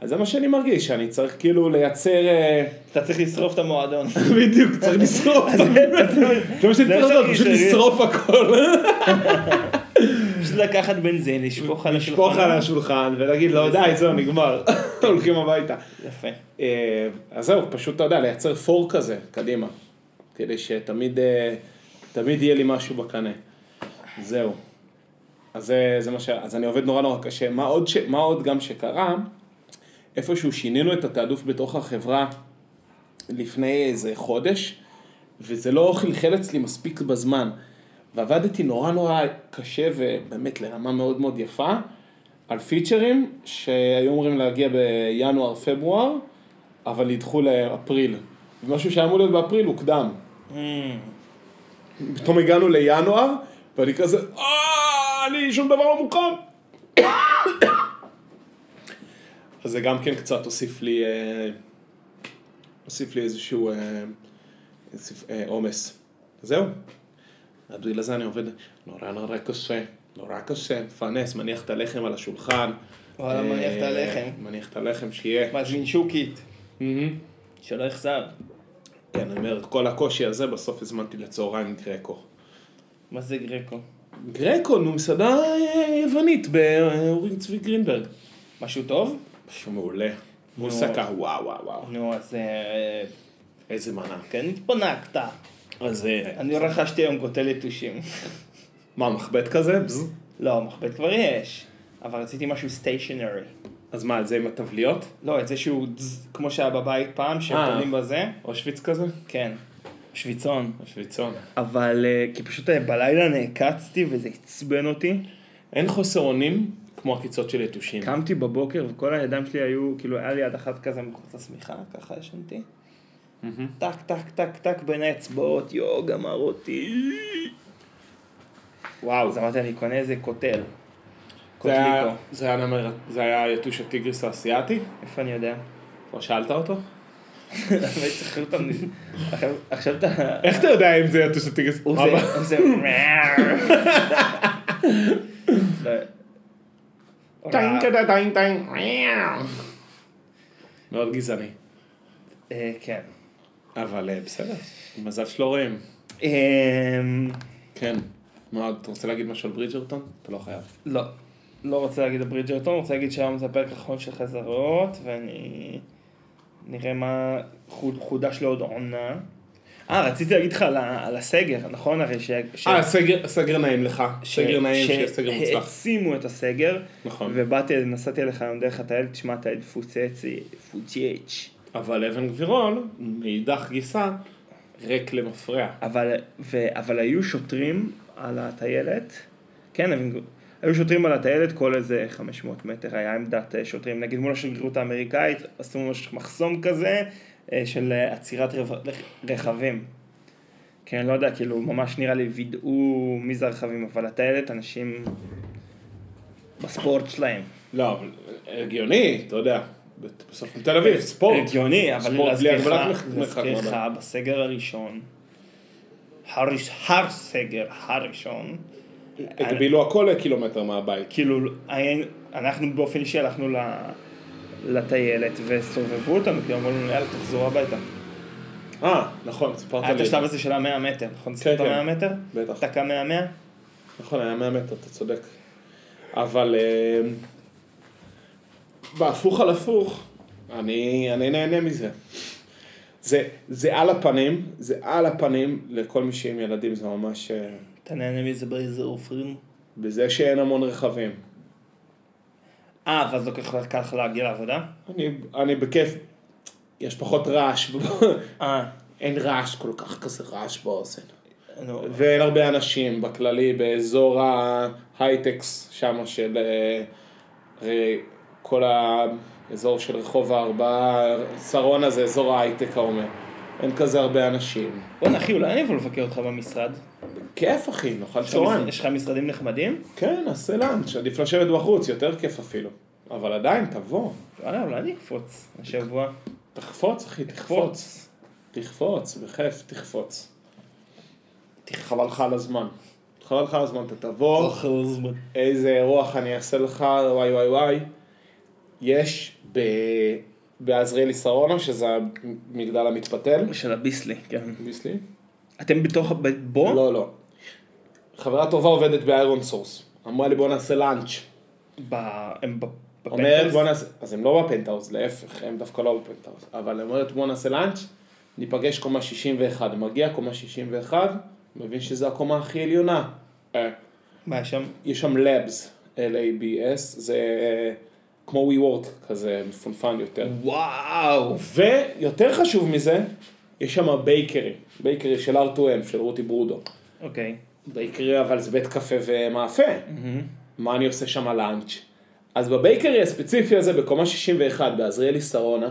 Speaker 1: אז זה מה שאני מרגיש, שאני צריך כאילו לייצר... אה,
Speaker 2: אתה צריך לשרוף את המועדון.
Speaker 1: בדיוק, צריך לשרוף. אתה מבין? זה מה שאני צריך
Speaker 2: זה
Speaker 1: לעשות,
Speaker 2: שאני
Speaker 1: פשוט
Speaker 2: שרי.
Speaker 1: לשרוף הכל.
Speaker 2: פשוט לקחת בנזין, לשפוך על השולחן.
Speaker 1: לשפוך על השולחן ולהגיד לו, די, זהו, נגמר. הולכים הביתה.
Speaker 2: יפה.
Speaker 1: אה, אז זהו, פשוט, אתה יודע, לייצר פור כזה, קדימה. כדי שתמיד אה, תמיד יהיה לי משהו בקנה. זהו. אז זה, זה מה ש... אז אני עובד נורא נורא קשה. מה עוד, ש... מה עוד גם שקרה, איפשהו שינינו את התעדוף בתוך החברה לפני איזה חודש, וזה לא חלחל אצלי מספיק בזמן. ועבדתי נורא נורא קשה ובאמת לרמה מאוד מאוד יפה, על פיצ'רים שהיו אמורים להגיע בינואר-פברואר, אבל נדחו לאפריל. ומשהו שהיה אמור להיות באפריל הוקדם. פתאום הגענו לינואר, ואני כזה, אה, אני שום דבר לא מוכן. אז זה גם כן קצת הוסיף לי, אה, הוסיף לי איזשהו אה, הוסיף, אה, עומס. זהו. אז בגלל זה אני עובד נורא נורא קשה, נורא קשה, מפרנס, מניח את הלחם על השולחן, אה,
Speaker 2: וואלה, מניח את הלחם.
Speaker 1: מניח את הלחם שיהיה.
Speaker 2: מזמין שוקית,
Speaker 1: מהמם.
Speaker 2: שלא יחסר.
Speaker 1: כן, אני אומר, את כל הקושי הזה בסוף הזמנתי לצהריים גרקו.
Speaker 2: מה זה גרקו?
Speaker 1: גרקו, נו, מסעדה אה, יוונית באורים צבי גרינברג.
Speaker 2: משהו טוב?
Speaker 1: משהו מעולה. מוסקה, וואו וואו וואו.
Speaker 2: נו, אז אה,
Speaker 1: איזה מנה.
Speaker 2: כן התפנקת.
Speaker 1: אז אה,
Speaker 2: אני רכשתי היום גוטלת טושים.
Speaker 1: מה, מחבט כזה? בז.
Speaker 2: לא, מחבט כבר יש. אבל רציתי משהו סטיישנרי.
Speaker 1: אז מה, זה עם התבליות?
Speaker 2: לא, את זה שהוא דז, כמו שהיה בבית פעם, שהם
Speaker 1: אה.
Speaker 2: קונים בזה.
Speaker 1: אושוויץ כזה?
Speaker 2: כן. שוויצון.
Speaker 1: אושוויצון.
Speaker 4: אבל אה, כי פשוט אה, בלילה נעקצתי וזה עצבן אותי.
Speaker 1: אין חוסר אונים כמו עקיצות של יתושים.
Speaker 4: קמתי בבוקר וכל הידיים שלי היו, כאילו היה לי יד אחת כזה מחוץ
Speaker 2: את
Speaker 4: לסמ...
Speaker 2: השמיכה, ככה ישנתי.
Speaker 1: מהמם.
Speaker 2: טק, טק, טק, טק בין האצבעות, יואו, גמר אותי.
Speaker 1: וואו.
Speaker 2: אז אמרתי, אני קונה איזה קוטל.
Speaker 1: זה היה-
Speaker 2: קוטליקו.
Speaker 1: זה היה נמר- זה היה יתוש הטיגריס האסייתי?
Speaker 2: איפה אני יודע?
Speaker 1: כבר שאלת אותו?
Speaker 2: באמת, צריך להיות פעם- עכשיו- עכשיו אתה...
Speaker 1: איך אתה יודע אם זה יתוש הטיגריס?
Speaker 2: הוא
Speaker 1: אבא.
Speaker 2: זה... הוא זה... לא.
Speaker 1: טנק, טנק, טנק, טנק. מאוד גזעני.
Speaker 2: אה, כן.
Speaker 1: אבל אה, בסדר, מזל שלא רואים.
Speaker 2: אמ,
Speaker 1: כן. מה, אתה רוצה להגיד משהו על ברידג'רטון? אתה לא חייב.
Speaker 2: לא. לא רוצה להגיד על ברידג'רטון, רוצה להגיד שהיום זה הפרק האחרון של חזרות, ואני... נראה מה חוד- חודש לעוד עונה. אה, רציתי להגיד לך על ה- על הסגר, נכון? הרי ש... ש-
Speaker 1: אה, סגר- סגר נעים לך. סגר נעים,
Speaker 2: ש-
Speaker 1: שיהיה סגר מוצלח.
Speaker 2: שהעצימו את הסגר,
Speaker 1: אה, נכון.
Speaker 2: ובאתי, נסעתי אליך היום דרך הטייל, תשמע, טייל פוצצי, פוצ'יץ'.
Speaker 1: אבל אבן גבירול, מאידך גיסה, ריק למפרע.
Speaker 2: אבל, ו, אבל היו שוטרים על הטיילת, כן, הם, היו שוטרים על הטיילת כל איזה 500 מטר, היה עמדת אה, שוטרים, נגיד מול השגרירות האמריקאית, עשו ממש מחסום כזה אה, של אה, עצירת רו- רכבים. כן, לא יודע, כאילו, ממש נראה לי וידאו מי זה הרכבים, אבל הטיילת, אנשים בספורט שלהם.
Speaker 1: לא, אבל הגיוני, אתה יודע. בסוף מתל אביב, ספורט.
Speaker 2: הגיוני, אבל
Speaker 1: ספורט בלי
Speaker 2: להזכירך,
Speaker 1: הגבלת מרחק, לא
Speaker 2: להזכירך,
Speaker 1: מאוד.
Speaker 2: בסגר הראשון, הראש- הסגר הראשון,
Speaker 1: הגבילו הכל לקילומטר מהבית.
Speaker 2: כאילו, היה- אנחנו באופן אישי הלכנו ל- לטיילת וסובבו אותנו, כי אמרו לנו, יאללה, תחזרו הביתה.
Speaker 1: אה, נכון, סיפרת
Speaker 2: היה את
Speaker 1: לי.
Speaker 2: השלב הזה של המאה מטר, נכון? סיפרת
Speaker 1: כן.
Speaker 2: המאה מטר?
Speaker 1: בטח.
Speaker 2: דקה מאה מאה?
Speaker 1: נכון, היה 100 מטר, אתה צודק. אבל אה, בהפוך על הפוך, אני, אני נהנה מזה. זה, זה על הפנים, זה על הפנים לכל מי שעם ילדים, זה ממש... אה,
Speaker 2: אתה נהנה מזה באיזה עופרים?
Speaker 1: בזה שאין המון רכבים.
Speaker 2: אה, ואז לא כל כך קל לך להגיע לעבודה?
Speaker 1: אני, אני בכיף, יש פחות רעש,
Speaker 2: אה,
Speaker 1: אין רעש כל כך כזה רעש באוזן.
Speaker 2: נו,
Speaker 1: ואין הרבה אנשים בכללי באזור ההייטקס שם של אה, הרי כל האזור של רחוב הארבעה, שרונה זה אזור ההייטק העומד. אין כזה הרבה אנשים.
Speaker 2: בוא'נה אחי, אולי אני אבוא לבקר אותך במשרד.
Speaker 1: כיף אחי, נאכל
Speaker 2: יש לך מש-
Speaker 1: צהריים.
Speaker 2: יש לך משרדים נחמדים?
Speaker 1: כן, נעשה לאנץ', עדיף לשבת בחוץ, יותר כיף אפילו. אבל עדיין, תבוא.
Speaker 2: וואלה, אולי אני אקפוץ השבוע.
Speaker 1: תחפוץ אחי, תחפוץ.
Speaker 2: קפוץ.
Speaker 1: תחפוץ, בכיף תחפוץ. חבל לך על הזמן. חבל לך על הזמן, אתה תבוא. אוקיי. איזה אירוח אני אעשה לך, וואי וואי וואי. יש ב... בעזריאלי שרונה, שזה המגדל המתפתל.
Speaker 2: של הביסלי, כן.
Speaker 1: ביסלי?
Speaker 2: אתם בתוך, ב- בו?
Speaker 1: לא, לא. חברה טובה עובדת באיירון סורס. אמרה לי בוא נעשה לאנץ'.
Speaker 2: ב- הם ב-
Speaker 1: אומרת
Speaker 2: בפנטהאוז?
Speaker 1: בוא נעשה... אז הם לא בפנטהאוז, להפך, הם דווקא לא בפנטהאוז. אבל היא אומרת בוא נעשה לאנץ', ניפגש קומה 61. מגיע קומה 61, מבין שזה הקומה הכי עליונה. אה,
Speaker 2: מה יש שם?
Speaker 1: יש שם Labs, L-A-B-S, זה אה, כמו WeWork כזה, מפונפן יותר.
Speaker 2: וואו.
Speaker 1: ויותר חשוב מזה, יש שם בייקרי, בייקרי של R2M, של רותי ברודו.
Speaker 2: אוקיי.
Speaker 1: בייקרי אבל זה בית קפה ומאפה.
Speaker 2: Mm-hmm.
Speaker 1: מה אני עושה שם לאנץ'? אז בבייקרי הספציפי הזה, בקומה 61, בעזריאלי שרונה,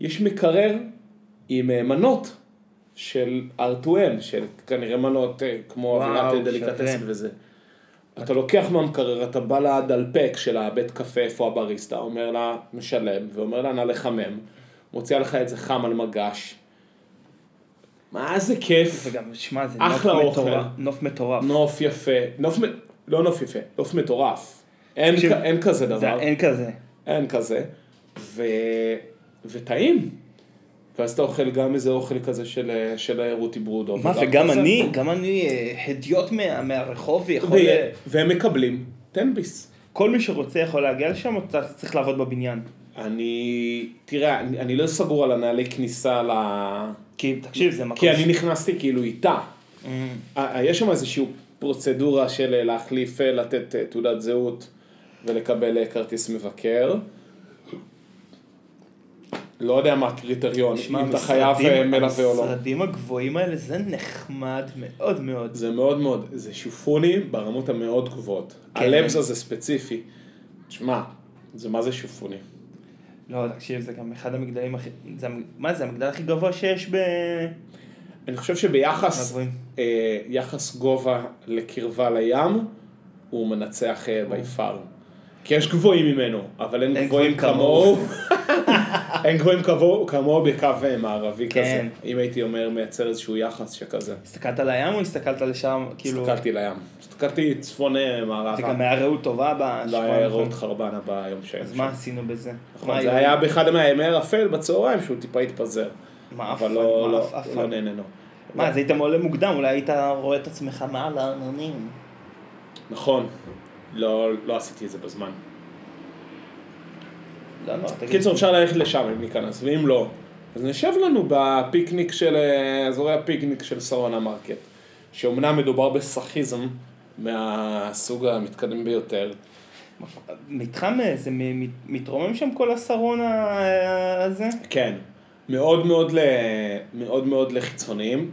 Speaker 1: יש מקרר עם אה, מנות של R2M, של כנראה מנות אה, כמו
Speaker 2: וואו,
Speaker 1: אווירת דליקטסן
Speaker 2: שווה.
Speaker 1: וזה. אתה לוקח מהמקרר, אתה בא לדלפק של הבית קפה, איפה הבריסטה, אומר לה, משלם, ואומר לה, נא לחמם. מוציאה לך את זה חם על מגש. מה זה כיף.
Speaker 2: וגם, שמע, זה
Speaker 1: אחלה
Speaker 2: נוף
Speaker 1: אוכל.
Speaker 2: מטורף. נוף מטורף.
Speaker 1: נוף יפה, נוף, מ- לא נוף יפה, נוף מטורף. אין
Speaker 2: תקשיב,
Speaker 1: כ- אין כזה
Speaker 2: זה-
Speaker 1: דבר.
Speaker 2: אין כזה.
Speaker 1: אין כזה, ו... וטעים. ואז אתה אוכל גם איזה אוכל כזה של, של רותי ברודו.
Speaker 2: מה, וגם אני, גם אני אה, הדיוט מה- מהרחוב ויכול... אה,
Speaker 1: והם מקבלים תן ביס.
Speaker 2: כל מי שרוצה יכול להגיע לשם, או צריך- צריך לעבוד בבניין.
Speaker 1: אני, תראה, אני, אני לא סגור על הנהלי כניסה ל...
Speaker 2: כי, תקשיב, זה מקום...
Speaker 1: כי אני
Speaker 2: ש-
Speaker 1: נכנסתי כאילו איתה. אה, יש שם איזושהי פרוצדורה של אה, להחליף, אה, לתת אה, תעודת זהות ולקבל אה, כרטיס מבקר. לא יודע מה הקריטריון,
Speaker 2: תשמע,
Speaker 1: אם אתה
Speaker 2: המשרדים-
Speaker 1: חייב אה, מלווה או לא.
Speaker 2: המשרדים הגבוהים האלה זה נחמד מאוד מאוד.
Speaker 1: זה מאוד מאוד, זה שופונים ברמות המאוד גבוהות.
Speaker 2: כן.
Speaker 1: הלבזה זה ספציפי. תשמע, זה מה זה שופונים?
Speaker 2: לא, תקשיב, זה גם אחד המגדלים הכי... זה המ- מה זה, המגדל הכי גבוה שיש ב...
Speaker 1: אני חושב שביחס,
Speaker 2: מהגבוהים.
Speaker 1: אה, יחס גובה לקרבה לים, הוא מנצח אה, ביפר. כי יש גבוהים ממנו, אבל אין
Speaker 2: אין
Speaker 1: גבוהים
Speaker 2: גבוהים
Speaker 1: כמוהו. אין גבוהים כמוהו כמוהו בקו אה, מערבי כזה.
Speaker 2: כן.
Speaker 1: אם הייתי אומר, מייצר איזשהו יחס שכזה.
Speaker 2: הסתכלת על הים או הסתכלת לשם? כאילו...
Speaker 1: הסתכלתי לים. הסתכלתי צפון אה, מערבה.
Speaker 2: זה גם היה רעות טובה
Speaker 1: לא
Speaker 2: בשבועיים.
Speaker 1: היה ירוק
Speaker 2: האחרונים.
Speaker 1: חרבנה ביום שהיינו
Speaker 2: אז
Speaker 1: שם.
Speaker 2: מה עשינו בזה?
Speaker 1: נכון,
Speaker 2: מה לא
Speaker 1: זה היה באחד מהימי ערפל בצהריים שהוא טיפה התפזר.
Speaker 2: מה,
Speaker 1: אבל
Speaker 2: עפן,
Speaker 1: לא,
Speaker 2: מה,
Speaker 1: לא,
Speaker 2: עפן?
Speaker 1: לא נהנינו.
Speaker 2: מה, אז היית עולה מוקדם, אולי היית רואה את עצמך מעל הארנונים.
Speaker 1: נכון, לא, לא עשיתי את זה בזמן.
Speaker 2: לא, לא, תגיד.
Speaker 1: בקיצור, אפשר ללכת לשם אם ניכנס, ואם לא, אז נשב לנו בפיקניק של, אה, אזורי הפיקניק של סרונה מרקט, שאומנם מדובר בסכיזם מהסוג המתקדם ביותר.
Speaker 2: מתחם אה, זה מ- מ- מתרומם שם כל הסרון ה- הזה?
Speaker 1: כן, מאוד מאוד, ל... מאוד מאוד לחיצוניים.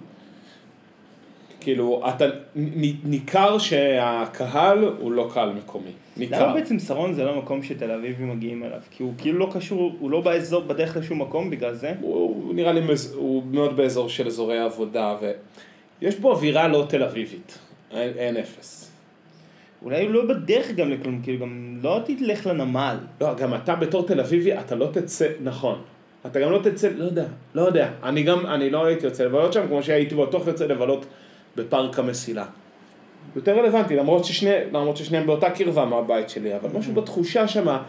Speaker 1: כאילו, אתה... נ- נ- ניכר שהקהל הוא לא קהל מקומי. ניכר.
Speaker 2: למה בעצם סרון זה לא מקום שתל אביבים מגיעים אליו? כי הוא כאילו לא קשור, הוא לא באזור, בדרך לשום מקום בגלל זה?
Speaker 1: הוא הוא נראה לי, מז- הוא מאוד באזור של אזורי עבודה, ויש בו אווירה לא תל אביבית. אין, אין אפס.
Speaker 2: אולי הוא לא בדרך גם לכלום, כאילו גם לא תלך לנמל.
Speaker 1: לא, גם אתה בתור תל אביבי, אתה לא תצא, נכון. אתה גם לא תצא, לא יודע, לא יודע. אני גם, אני לא הייתי יוצא לבלות שם, כמו שהייתי בטוח יוצא לבלות בפארק המסילה. יותר רלוונטי, למרות, ששני, למרות ששניהם באותה קרבה מהבית שלי, אבל
Speaker 2: Mm-hmm.
Speaker 1: משהו בתחושה שמה,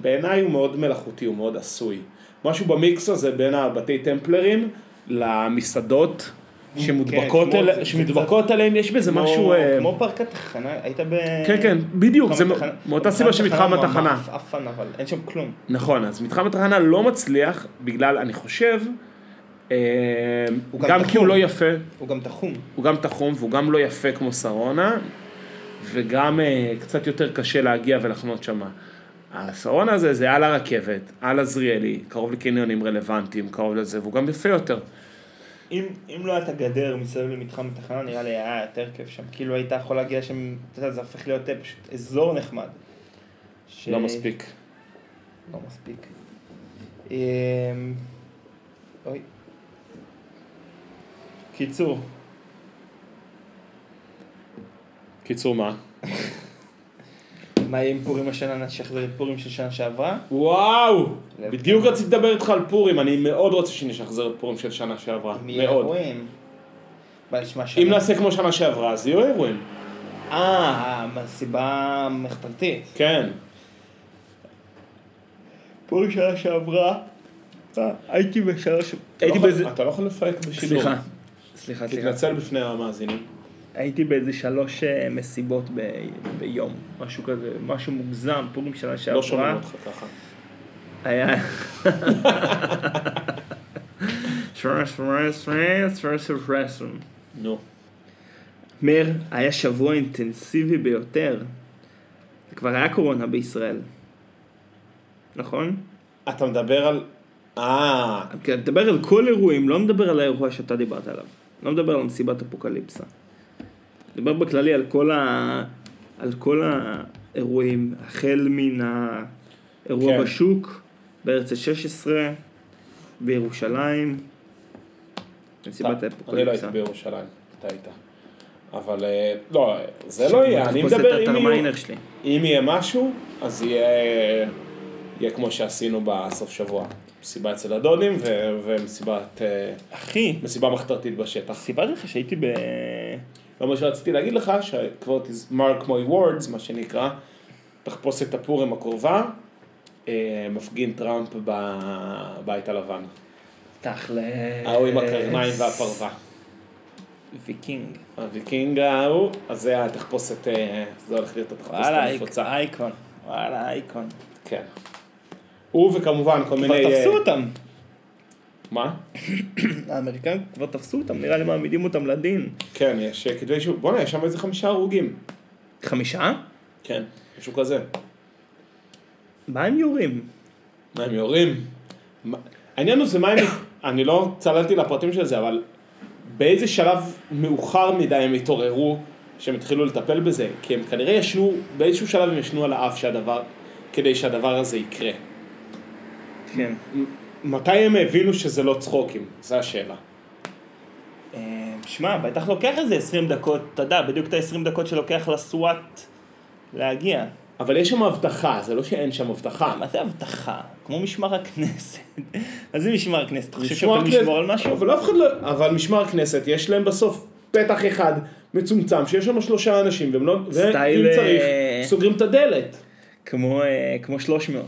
Speaker 1: בעיניי הוא מאוד מלאכותי, הוא מאוד עשוי. משהו במיקס הזה בין הבתי טמפלרים למסעדות שמודבקות,
Speaker 2: כן, כמו-
Speaker 1: אל,
Speaker 2: זה- זה
Speaker 1: שמודבקות עליהם, יש בזה
Speaker 2: כמו-
Speaker 1: משהו... אה,
Speaker 2: כמו פארק התחנה, היית ב...
Speaker 1: כן, כן, בדיוק,
Speaker 2: מתחם
Speaker 1: זה מ-
Speaker 2: התחנה-
Speaker 1: מאותה סיבה שמתחם
Speaker 2: הוא
Speaker 1: התחנה.
Speaker 2: ממש עפן, אבל אין שם כלום.
Speaker 1: נכון, אז מתחם הטחנה לא מצליח בגלל, אני חושב, אה,
Speaker 2: הוא
Speaker 1: גם,
Speaker 2: גם
Speaker 1: גם כי
Speaker 2: תחום.
Speaker 1: הוא לא יפה,
Speaker 2: הוא גם תחום.
Speaker 1: הוא גם תחום והוא גם לא יפה כמו שרונה, וגם אה, קצת יותר קשה להגיע ולחנות שמה. השרונה הזה זה על הרכבת, על עזריאלי, קרוב לקניונים רלוונטיים, קרוב לזה, והוא גם יפה יותר.
Speaker 2: אם, אם לא הייתה גדר מסביב למתחם התחנה, נראה לי היה יותר כיף שם. כאילו היית יכול להגיע שם, אתה יודע, זה הופך להיות אה, פשוט אזור נחמד. ש...
Speaker 1: לא מספיק.
Speaker 2: לא מספיק. אמ, אוי. קיצור,
Speaker 1: קיצור מה?
Speaker 2: מה יהיה עם פורים השנה, נשחזר את פורים של שנה שעברה?
Speaker 1: וואו!
Speaker 2: לב
Speaker 1: בדיוק רציתי לדבר איתך על פורים, אני מאוד רוצה שנשחזר את פורים של שנה שעברה,
Speaker 2: אם יהיה
Speaker 1: מאוד.
Speaker 2: אירועים. בא נשמע שנה.
Speaker 1: אם לא- נעשה כמו שנה שעברה, אז יהיו אירועים.
Speaker 2: אה, מהסיבה מחתרתית.
Speaker 1: כן.
Speaker 2: פורים שנה שעברה, אה, הייתי בשלוש...
Speaker 1: הייתי
Speaker 2: לא יכול-
Speaker 1: באיזה... אתה לא יכול לפרק בשידור.
Speaker 2: סליחה. סליחה, סליחה.
Speaker 1: תתנצל בפני המאזינים.
Speaker 2: הייתי באיזה שלוש אה, מסיבות ב- ביום, משהו כזה, משהו מוגזם, פורים שנה שעברה.
Speaker 1: לא שומעים אותך ככה.
Speaker 2: היה... שמונה, שמונה, שמונה, שמונה, שמונה, שמונה.
Speaker 1: נו.
Speaker 2: מאיר, היה שבוע אינטנסיבי ביותר. זה כבר היה קורונה בישראל. נכון?
Speaker 1: אתה מדבר על... אה,
Speaker 2: אתה מדבר כן, על כל אירועים, לא מדבר על האירוע שאתה דיברת עליו. לא מדבר על מסיבת אפוקליפסה. מדבר בכללי על כל, ה... על כל האירועים, החל מן האירוע
Speaker 1: כן.
Speaker 2: כן. בשוק, בארץ ה-16, בירושלים, מסיבת
Speaker 1: אתה- אני לא
Speaker 2: האפוקליפסה.
Speaker 1: הייתי בירושלים, אתה היית. אבל אה, לא, זה לא יהיה, אני מדבר
Speaker 2: עם...
Speaker 1: אם יהיו-
Speaker 2: מיינר שלי.
Speaker 1: אם יהיה משהו, אז יהיה יהיה כמו שעשינו בסוף שבוע. מסיבה אצל הדודים ו- ומסיבת... אה,
Speaker 2: אחי,
Speaker 1: מסיבה מחתרתית בשטח.
Speaker 2: סיפרתי לך שהייתי ב...
Speaker 1: לא מה שרציתי להגיד לך, שכבר תז- mark my words, מה שנקרא, תחפושת הפורים הקרובה, אה, מפגין טראמפ בבית הלבן.
Speaker 2: תכל'ס.
Speaker 1: ההוא עם הקרניים
Speaker 2: אה,
Speaker 1: והפרווה.
Speaker 2: ויקינג.
Speaker 1: הוויקינג ההוא, אז זה התחפושת, אה, זה הולך להיות התחפושת
Speaker 2: וואלה,
Speaker 1: הנפוצה.
Speaker 2: אייקון. וואלה, אייקון.
Speaker 1: כן. הוא וכמובן כל מיני...
Speaker 2: כבר
Speaker 1: אה,
Speaker 2: תפסו אותם.
Speaker 1: מה?
Speaker 2: האמריקאים כבר תפסו אותם, נראה לי מעמידים אותם לדין.
Speaker 1: כן, יש אה, כתבי אישום. בואנה, יש שם איזה חמישה הרוגים.
Speaker 2: חמישה?
Speaker 1: כן. משהו כזה.
Speaker 2: מה הם יורים?
Speaker 1: מה הם יורים? מה- העניין הוא זה מה הם... אני לא צללתי לפרטים של זה, אבל באיזה שלב מאוחר מדי הם התעוררו שהם התחילו לטפל בזה? כי הם כנראה ישנו, באיזשהו שלב הם ישנו על האף שהדבר, כדי שהדבר הזה יקרה.
Speaker 2: כן.
Speaker 1: מתי הם הבינו שזה לא צחוקים? זו השאלה.
Speaker 2: אה, שמע, בטח לוקח איזה 20 דקות, אתה יודע, בדיוק את ה-20 דקות שלוקח לסוואט להגיע.
Speaker 1: אבל יש שם הבטחה, זה לא שאין שם הבטחה.
Speaker 2: מה זה הבטחה? כמו משמר הכנסת. מה זה משמר הכנסת? אתה חושב
Speaker 1: משמר
Speaker 2: שאתם
Speaker 1: הכנסת-
Speaker 2: לשמור על משהו?
Speaker 1: אבל אף אחד לא... אבל משמר הכנסת, יש להם בסוף פתח אחד מצומצם, שיש שם שלושה אנשים, והם לא...
Speaker 2: סטייל,
Speaker 1: ואם צריך,
Speaker 2: אה,
Speaker 1: סוגרים את הדלת.
Speaker 2: כמו, אה, כמו 300.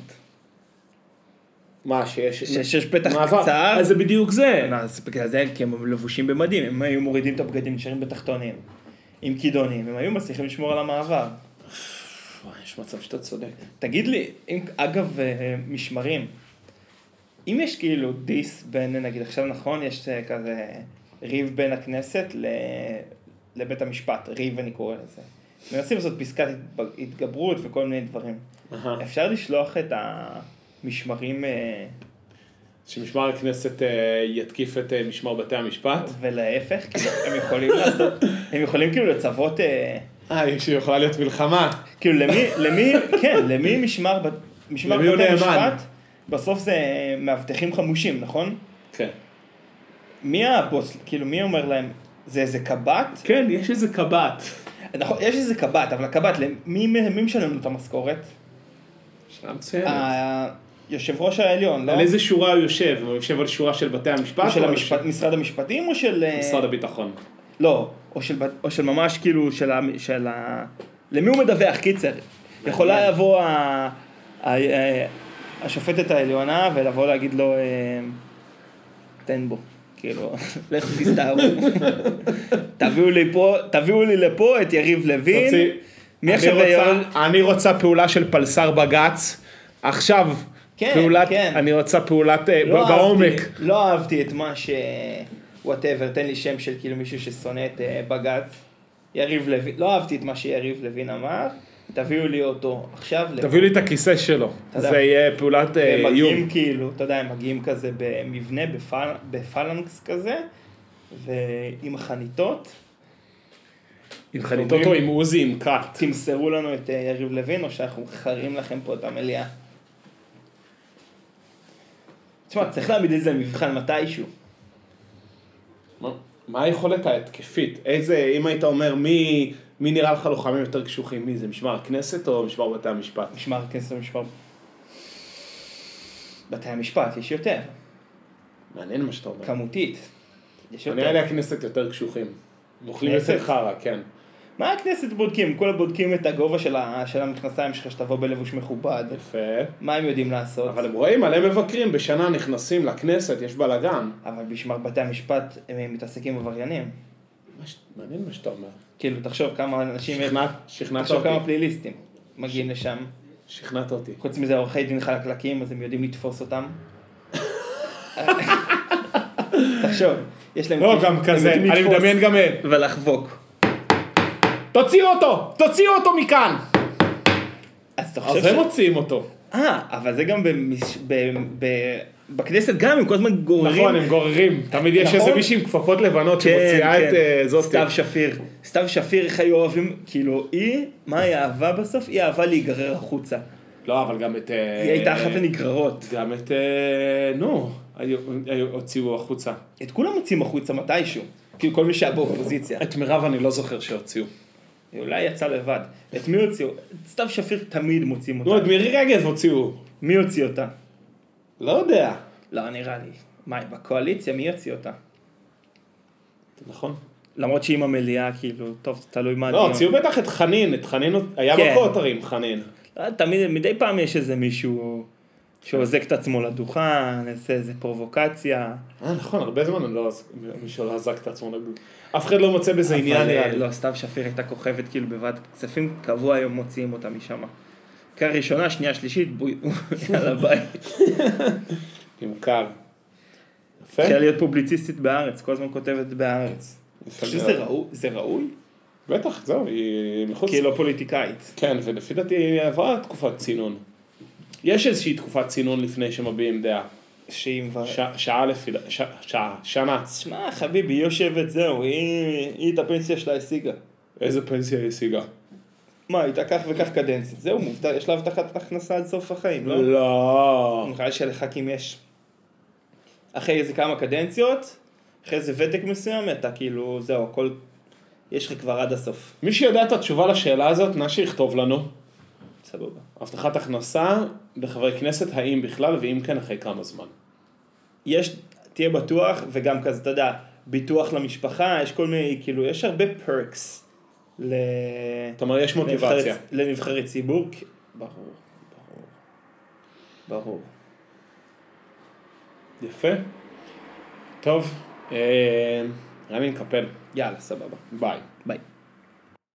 Speaker 1: מה, שיש...
Speaker 2: שיש שיש פתח
Speaker 1: מעבר.
Speaker 2: קצר.
Speaker 1: אז זה בדיוק זה.
Speaker 2: כן, אז בגלל זה, כי הם לבושים במדים, הם היו מורידים את הבגדים, נשארים בתחתונים. עם כידונים, הם היו מצליחים לשמור על המעבר.
Speaker 1: וואי, יש מצב שאתה צודק.
Speaker 2: תגיד לי, אם, אגב, אה, משמרים, אם יש כאילו דיס בין, נגיד עכשיו נכון, יש אה, כזה ריב בין הכנסת ל... לבית המשפט, ריב אני קורא לזה. מנסים לעשות פסקת התב- התגברות וכל מיני דברים.
Speaker 1: אהה.
Speaker 2: אפשר לשלוח את המשמרים אה,
Speaker 1: שמשמר הכנסת אה, יתקיף את אה, משמר בתי המשפט?
Speaker 2: ולהפך, כאילו, הם יכולים לעשות, הם יכולים כאילו לצוות, אה,
Speaker 1: אה, יש יכולה להיות מלחמה.
Speaker 2: כאילו למי, למי, כן, למי משמר, בת- משמר
Speaker 1: למי הוא
Speaker 2: בתי
Speaker 1: נאמן?
Speaker 2: המשפט, בסוף זה מאבטחים חמושים, נכון?
Speaker 1: כן.
Speaker 2: מי הבוס, כאילו מי אומר להם, זה איזה קב"ט?
Speaker 1: כן, יש איזה קב"ט.
Speaker 2: נכון, יש איזה קב"ט, אבל הקב"ט, למי, מי מי משלם לו את המשכורת?
Speaker 1: שאלה מצוינת.
Speaker 2: היושב ראש העליון, אה, לא?
Speaker 1: על איזה שורה הוא יושב? הוא יושב על שורה של בתי המשפט?
Speaker 2: הוא של
Speaker 1: או על
Speaker 2: המשפט, משרד המשפטים או של... אה,
Speaker 1: משרד הביטחון.
Speaker 2: לא, או של, בת- או של ממש כאילו של ה... של ה... למי הוא מדווח, קיצר. יכולה לבוא ה... ה... ה... השופטת העליונה ולבוא להגיד לו, אה, תן בו. כאילו, לכו תסתערו. תביאו לי פה, תביאו לי לפה את יריב לוין.
Speaker 1: תוציא.
Speaker 2: מי
Speaker 1: אני
Speaker 2: עכשיו
Speaker 1: רוצה-
Speaker 2: יו"ר-
Speaker 1: אני רוצה פעולה של פלסר בג"ץ. עכשיו.
Speaker 2: כן,
Speaker 1: פעולת,
Speaker 2: כן.
Speaker 1: אני רוצה פעולת, אה,
Speaker 2: לא
Speaker 1: ב- בעומק.
Speaker 2: אהבתי- לא אהבתי את מה ש... וואטאבר, תן לי שם של כאילו מישהו ששונא את אה, בג"ץ. יריב לוין, לא אהבתי את מה שיריב לוין אמר, תביאו לי אותו עכשיו. לפה.
Speaker 1: תביאו לי את הכיסא שלו.
Speaker 2: תודה.
Speaker 1: זה יהיה פעולת אה,
Speaker 2: והם
Speaker 1: איום.
Speaker 2: מגיעים כאילו, אתה יודע, הם מגיעים כזה במבנה, בפל... בפלנקס כזה, ועם חניתות,
Speaker 1: עם חניתות או עם עוזי עם קאט.
Speaker 2: תמסרו לנו את אה, יריב לוין, או שאנחנו מחרים לכם פה את המליאה. תשמע, צריך להעמיד את זה למבחן מתישהו.
Speaker 1: מה- מה היכולת ההתקפית? איזה, אם היית אומר, מי, מי נראה לך לוחמים יותר קשוחים? מי זה, משמר הכנסת או משמר בתי המשפט?
Speaker 2: משמר הכנסת ומשמר... בתי המשפט, יש יותר.
Speaker 1: כן. מעניין מה שאתה אומר.
Speaker 2: כמותית. יש יותר.
Speaker 1: נראה לי הכנסת יותר קשוחים. הם אוכלים
Speaker 2: הכנסת?
Speaker 1: יותר חרא, כן.
Speaker 2: מה הכנסת בודקים? כולם בודקים את הגובה של ה- של המכנסיים שלך שתבוא בלבוש מכובד.
Speaker 1: יפה.
Speaker 2: מה הם יודעים לעשות?
Speaker 1: אבל הם רואים מלא מבקרים בשנה נכנסים לכנסת, יש בלאגן.
Speaker 2: אבל בשמר בתי המשפט הם מתעסקים עם עבריינים.
Speaker 1: מה ש- מעניין מה שאתה אומר.
Speaker 2: כאילו, תחשוב כמה אנשים...
Speaker 1: שכנעת- שכנעת
Speaker 2: תחשוב כמה
Speaker 1: אותי.
Speaker 2: פליליסטים מגיעים לשם.
Speaker 1: שכנעת אותי.
Speaker 2: חוץ מזה, עורכי דין חלקלקים, אז הם יודעים לתפוס אותם. תחשוב, יש להם...
Speaker 1: לא,
Speaker 2: כלים-
Speaker 1: גם
Speaker 2: הם
Speaker 1: כזה,
Speaker 2: יודעים
Speaker 1: אני
Speaker 2: לתפוס
Speaker 1: מדמיין גם...
Speaker 2: ולחבוק.
Speaker 1: תוציאו אותו! תוציאו אותו מכאן!
Speaker 2: אז אתה חושב
Speaker 1: אז הם מוציאים אותו.
Speaker 2: אה, אבל זה גם במש... ב... ב... בכנסת גם הם כל הזמן גוררים.
Speaker 1: נכון, הם גוררים. תמיד יש
Speaker 2: נכון?
Speaker 1: איזה מישהי עם כפפות לבנות
Speaker 2: כן,
Speaker 1: שמוציאה
Speaker 2: כן.
Speaker 1: את אה, זאתי.
Speaker 2: סתיו שפיר. סתיו שפיר, איך היו אוהבים, כאילו, היא, מה היא אהבה בסוף? היא אהבה להיגרר החוצה.
Speaker 1: לא, אבל גם את...
Speaker 2: היא הייתה אחת הנגררות.
Speaker 1: גם את... אה, נו, היו- היו- הוציאו החוצה.
Speaker 2: את כולם מוצאים החוצה מתישהו. כאילו, כל מי שהיה באופוזיציה.
Speaker 1: את מירב אני לא זוכר שהוציאו.
Speaker 2: היא אולי יצאה לבד. את מי הוציאו? את סתיו שפיר תמיד מוצאים
Speaker 1: נו, את
Speaker 2: אותה.
Speaker 1: מירי רגב הוציאו.
Speaker 2: מי הוציא אותה?
Speaker 1: לא יודע.
Speaker 2: לא, נראה לי. מה, היא בקואליציה? מי יוציא אותה?
Speaker 1: נכון.
Speaker 2: למרות שהיא עם המליאה, כאילו, טוב, תלוי מה
Speaker 1: לא, הוציאו בטח את חנין, את חנין היה
Speaker 2: כן.
Speaker 1: בקוטרים, חנין.
Speaker 2: תמיד, מדי פעם יש איזה מישהו שעוזק את עצמו לדוכן, איזה איזה פרובוקציה.
Speaker 1: אה, נכון, הרבה זמן אני לא עז- מישהו לא עזק את עצמו לגור. אף אחד לא מוצא בזה
Speaker 2: אבל,
Speaker 1: עניין
Speaker 2: אה,
Speaker 1: נראה לי.
Speaker 2: לא, סתיו שפיר הייתה כוכבת כאילו בוועדת כספים, קבוע היום מוציאים אותה משם. קריאה ראשונה, שנייה, שלישית, בואי, יאללה ביי.
Speaker 1: עם קו. יפה.
Speaker 2: התחילה להיות פובליציסטית בהארץ, כל הזמן כותבת בהארץ.
Speaker 1: יפה
Speaker 2: חושב שזה
Speaker 1: מאוד.
Speaker 2: ראו- זה ראוי?
Speaker 1: בטח, זהו, היא מחוץ.
Speaker 2: כי היא לא פוליטיקאית.
Speaker 1: כן, ולפי דעתי היא עברה תקופת צינון. יש איזושהי תקופת צינון לפני שמביעים דעה.
Speaker 2: שהיא מבררת.
Speaker 1: ש- שעה לפי דעתי, שעה, שנה.
Speaker 2: שמע, חביבי, היא יושבת, זהו, היא היא את הפנסיה שלה השיגה.
Speaker 1: איזה פנסיה היא השיגה?
Speaker 2: מה, הייתה כך וכך קדנציה. זהו, מובטל, יש לה הבטחת הכנסה עד סוף החיים, לא?
Speaker 1: לא.
Speaker 2: נראה לי שלח"כים יש. אחרי איזה כמה קדנציות, אחרי איזה ותק מסוים, אתה כאילו, זהו, הכל, יש לך כבר עד הסוף.
Speaker 1: מי שיודע את התשובה לשאלה הזאת, נא שיכתוב לנו.
Speaker 2: סבבה.
Speaker 1: הבטחת הכנסה לחברי כנסת, האם בכלל, ואם כן, אחרי כמה זמן.
Speaker 2: יש, תהיה בטוח, וגם כזה, אתה יודע, ביטוח למשפחה, יש כל מיני, כאילו, יש הרבה perks ל...
Speaker 1: זאת אומרת, יש מוטיבציה.
Speaker 2: לנבחרי- לנבחרי ציבור. כי- ברור, ברור. ברור.
Speaker 1: יפה. טוב, אה, רמי נקפל.
Speaker 2: יאללה, סבבה.
Speaker 1: ביי.
Speaker 2: ביי.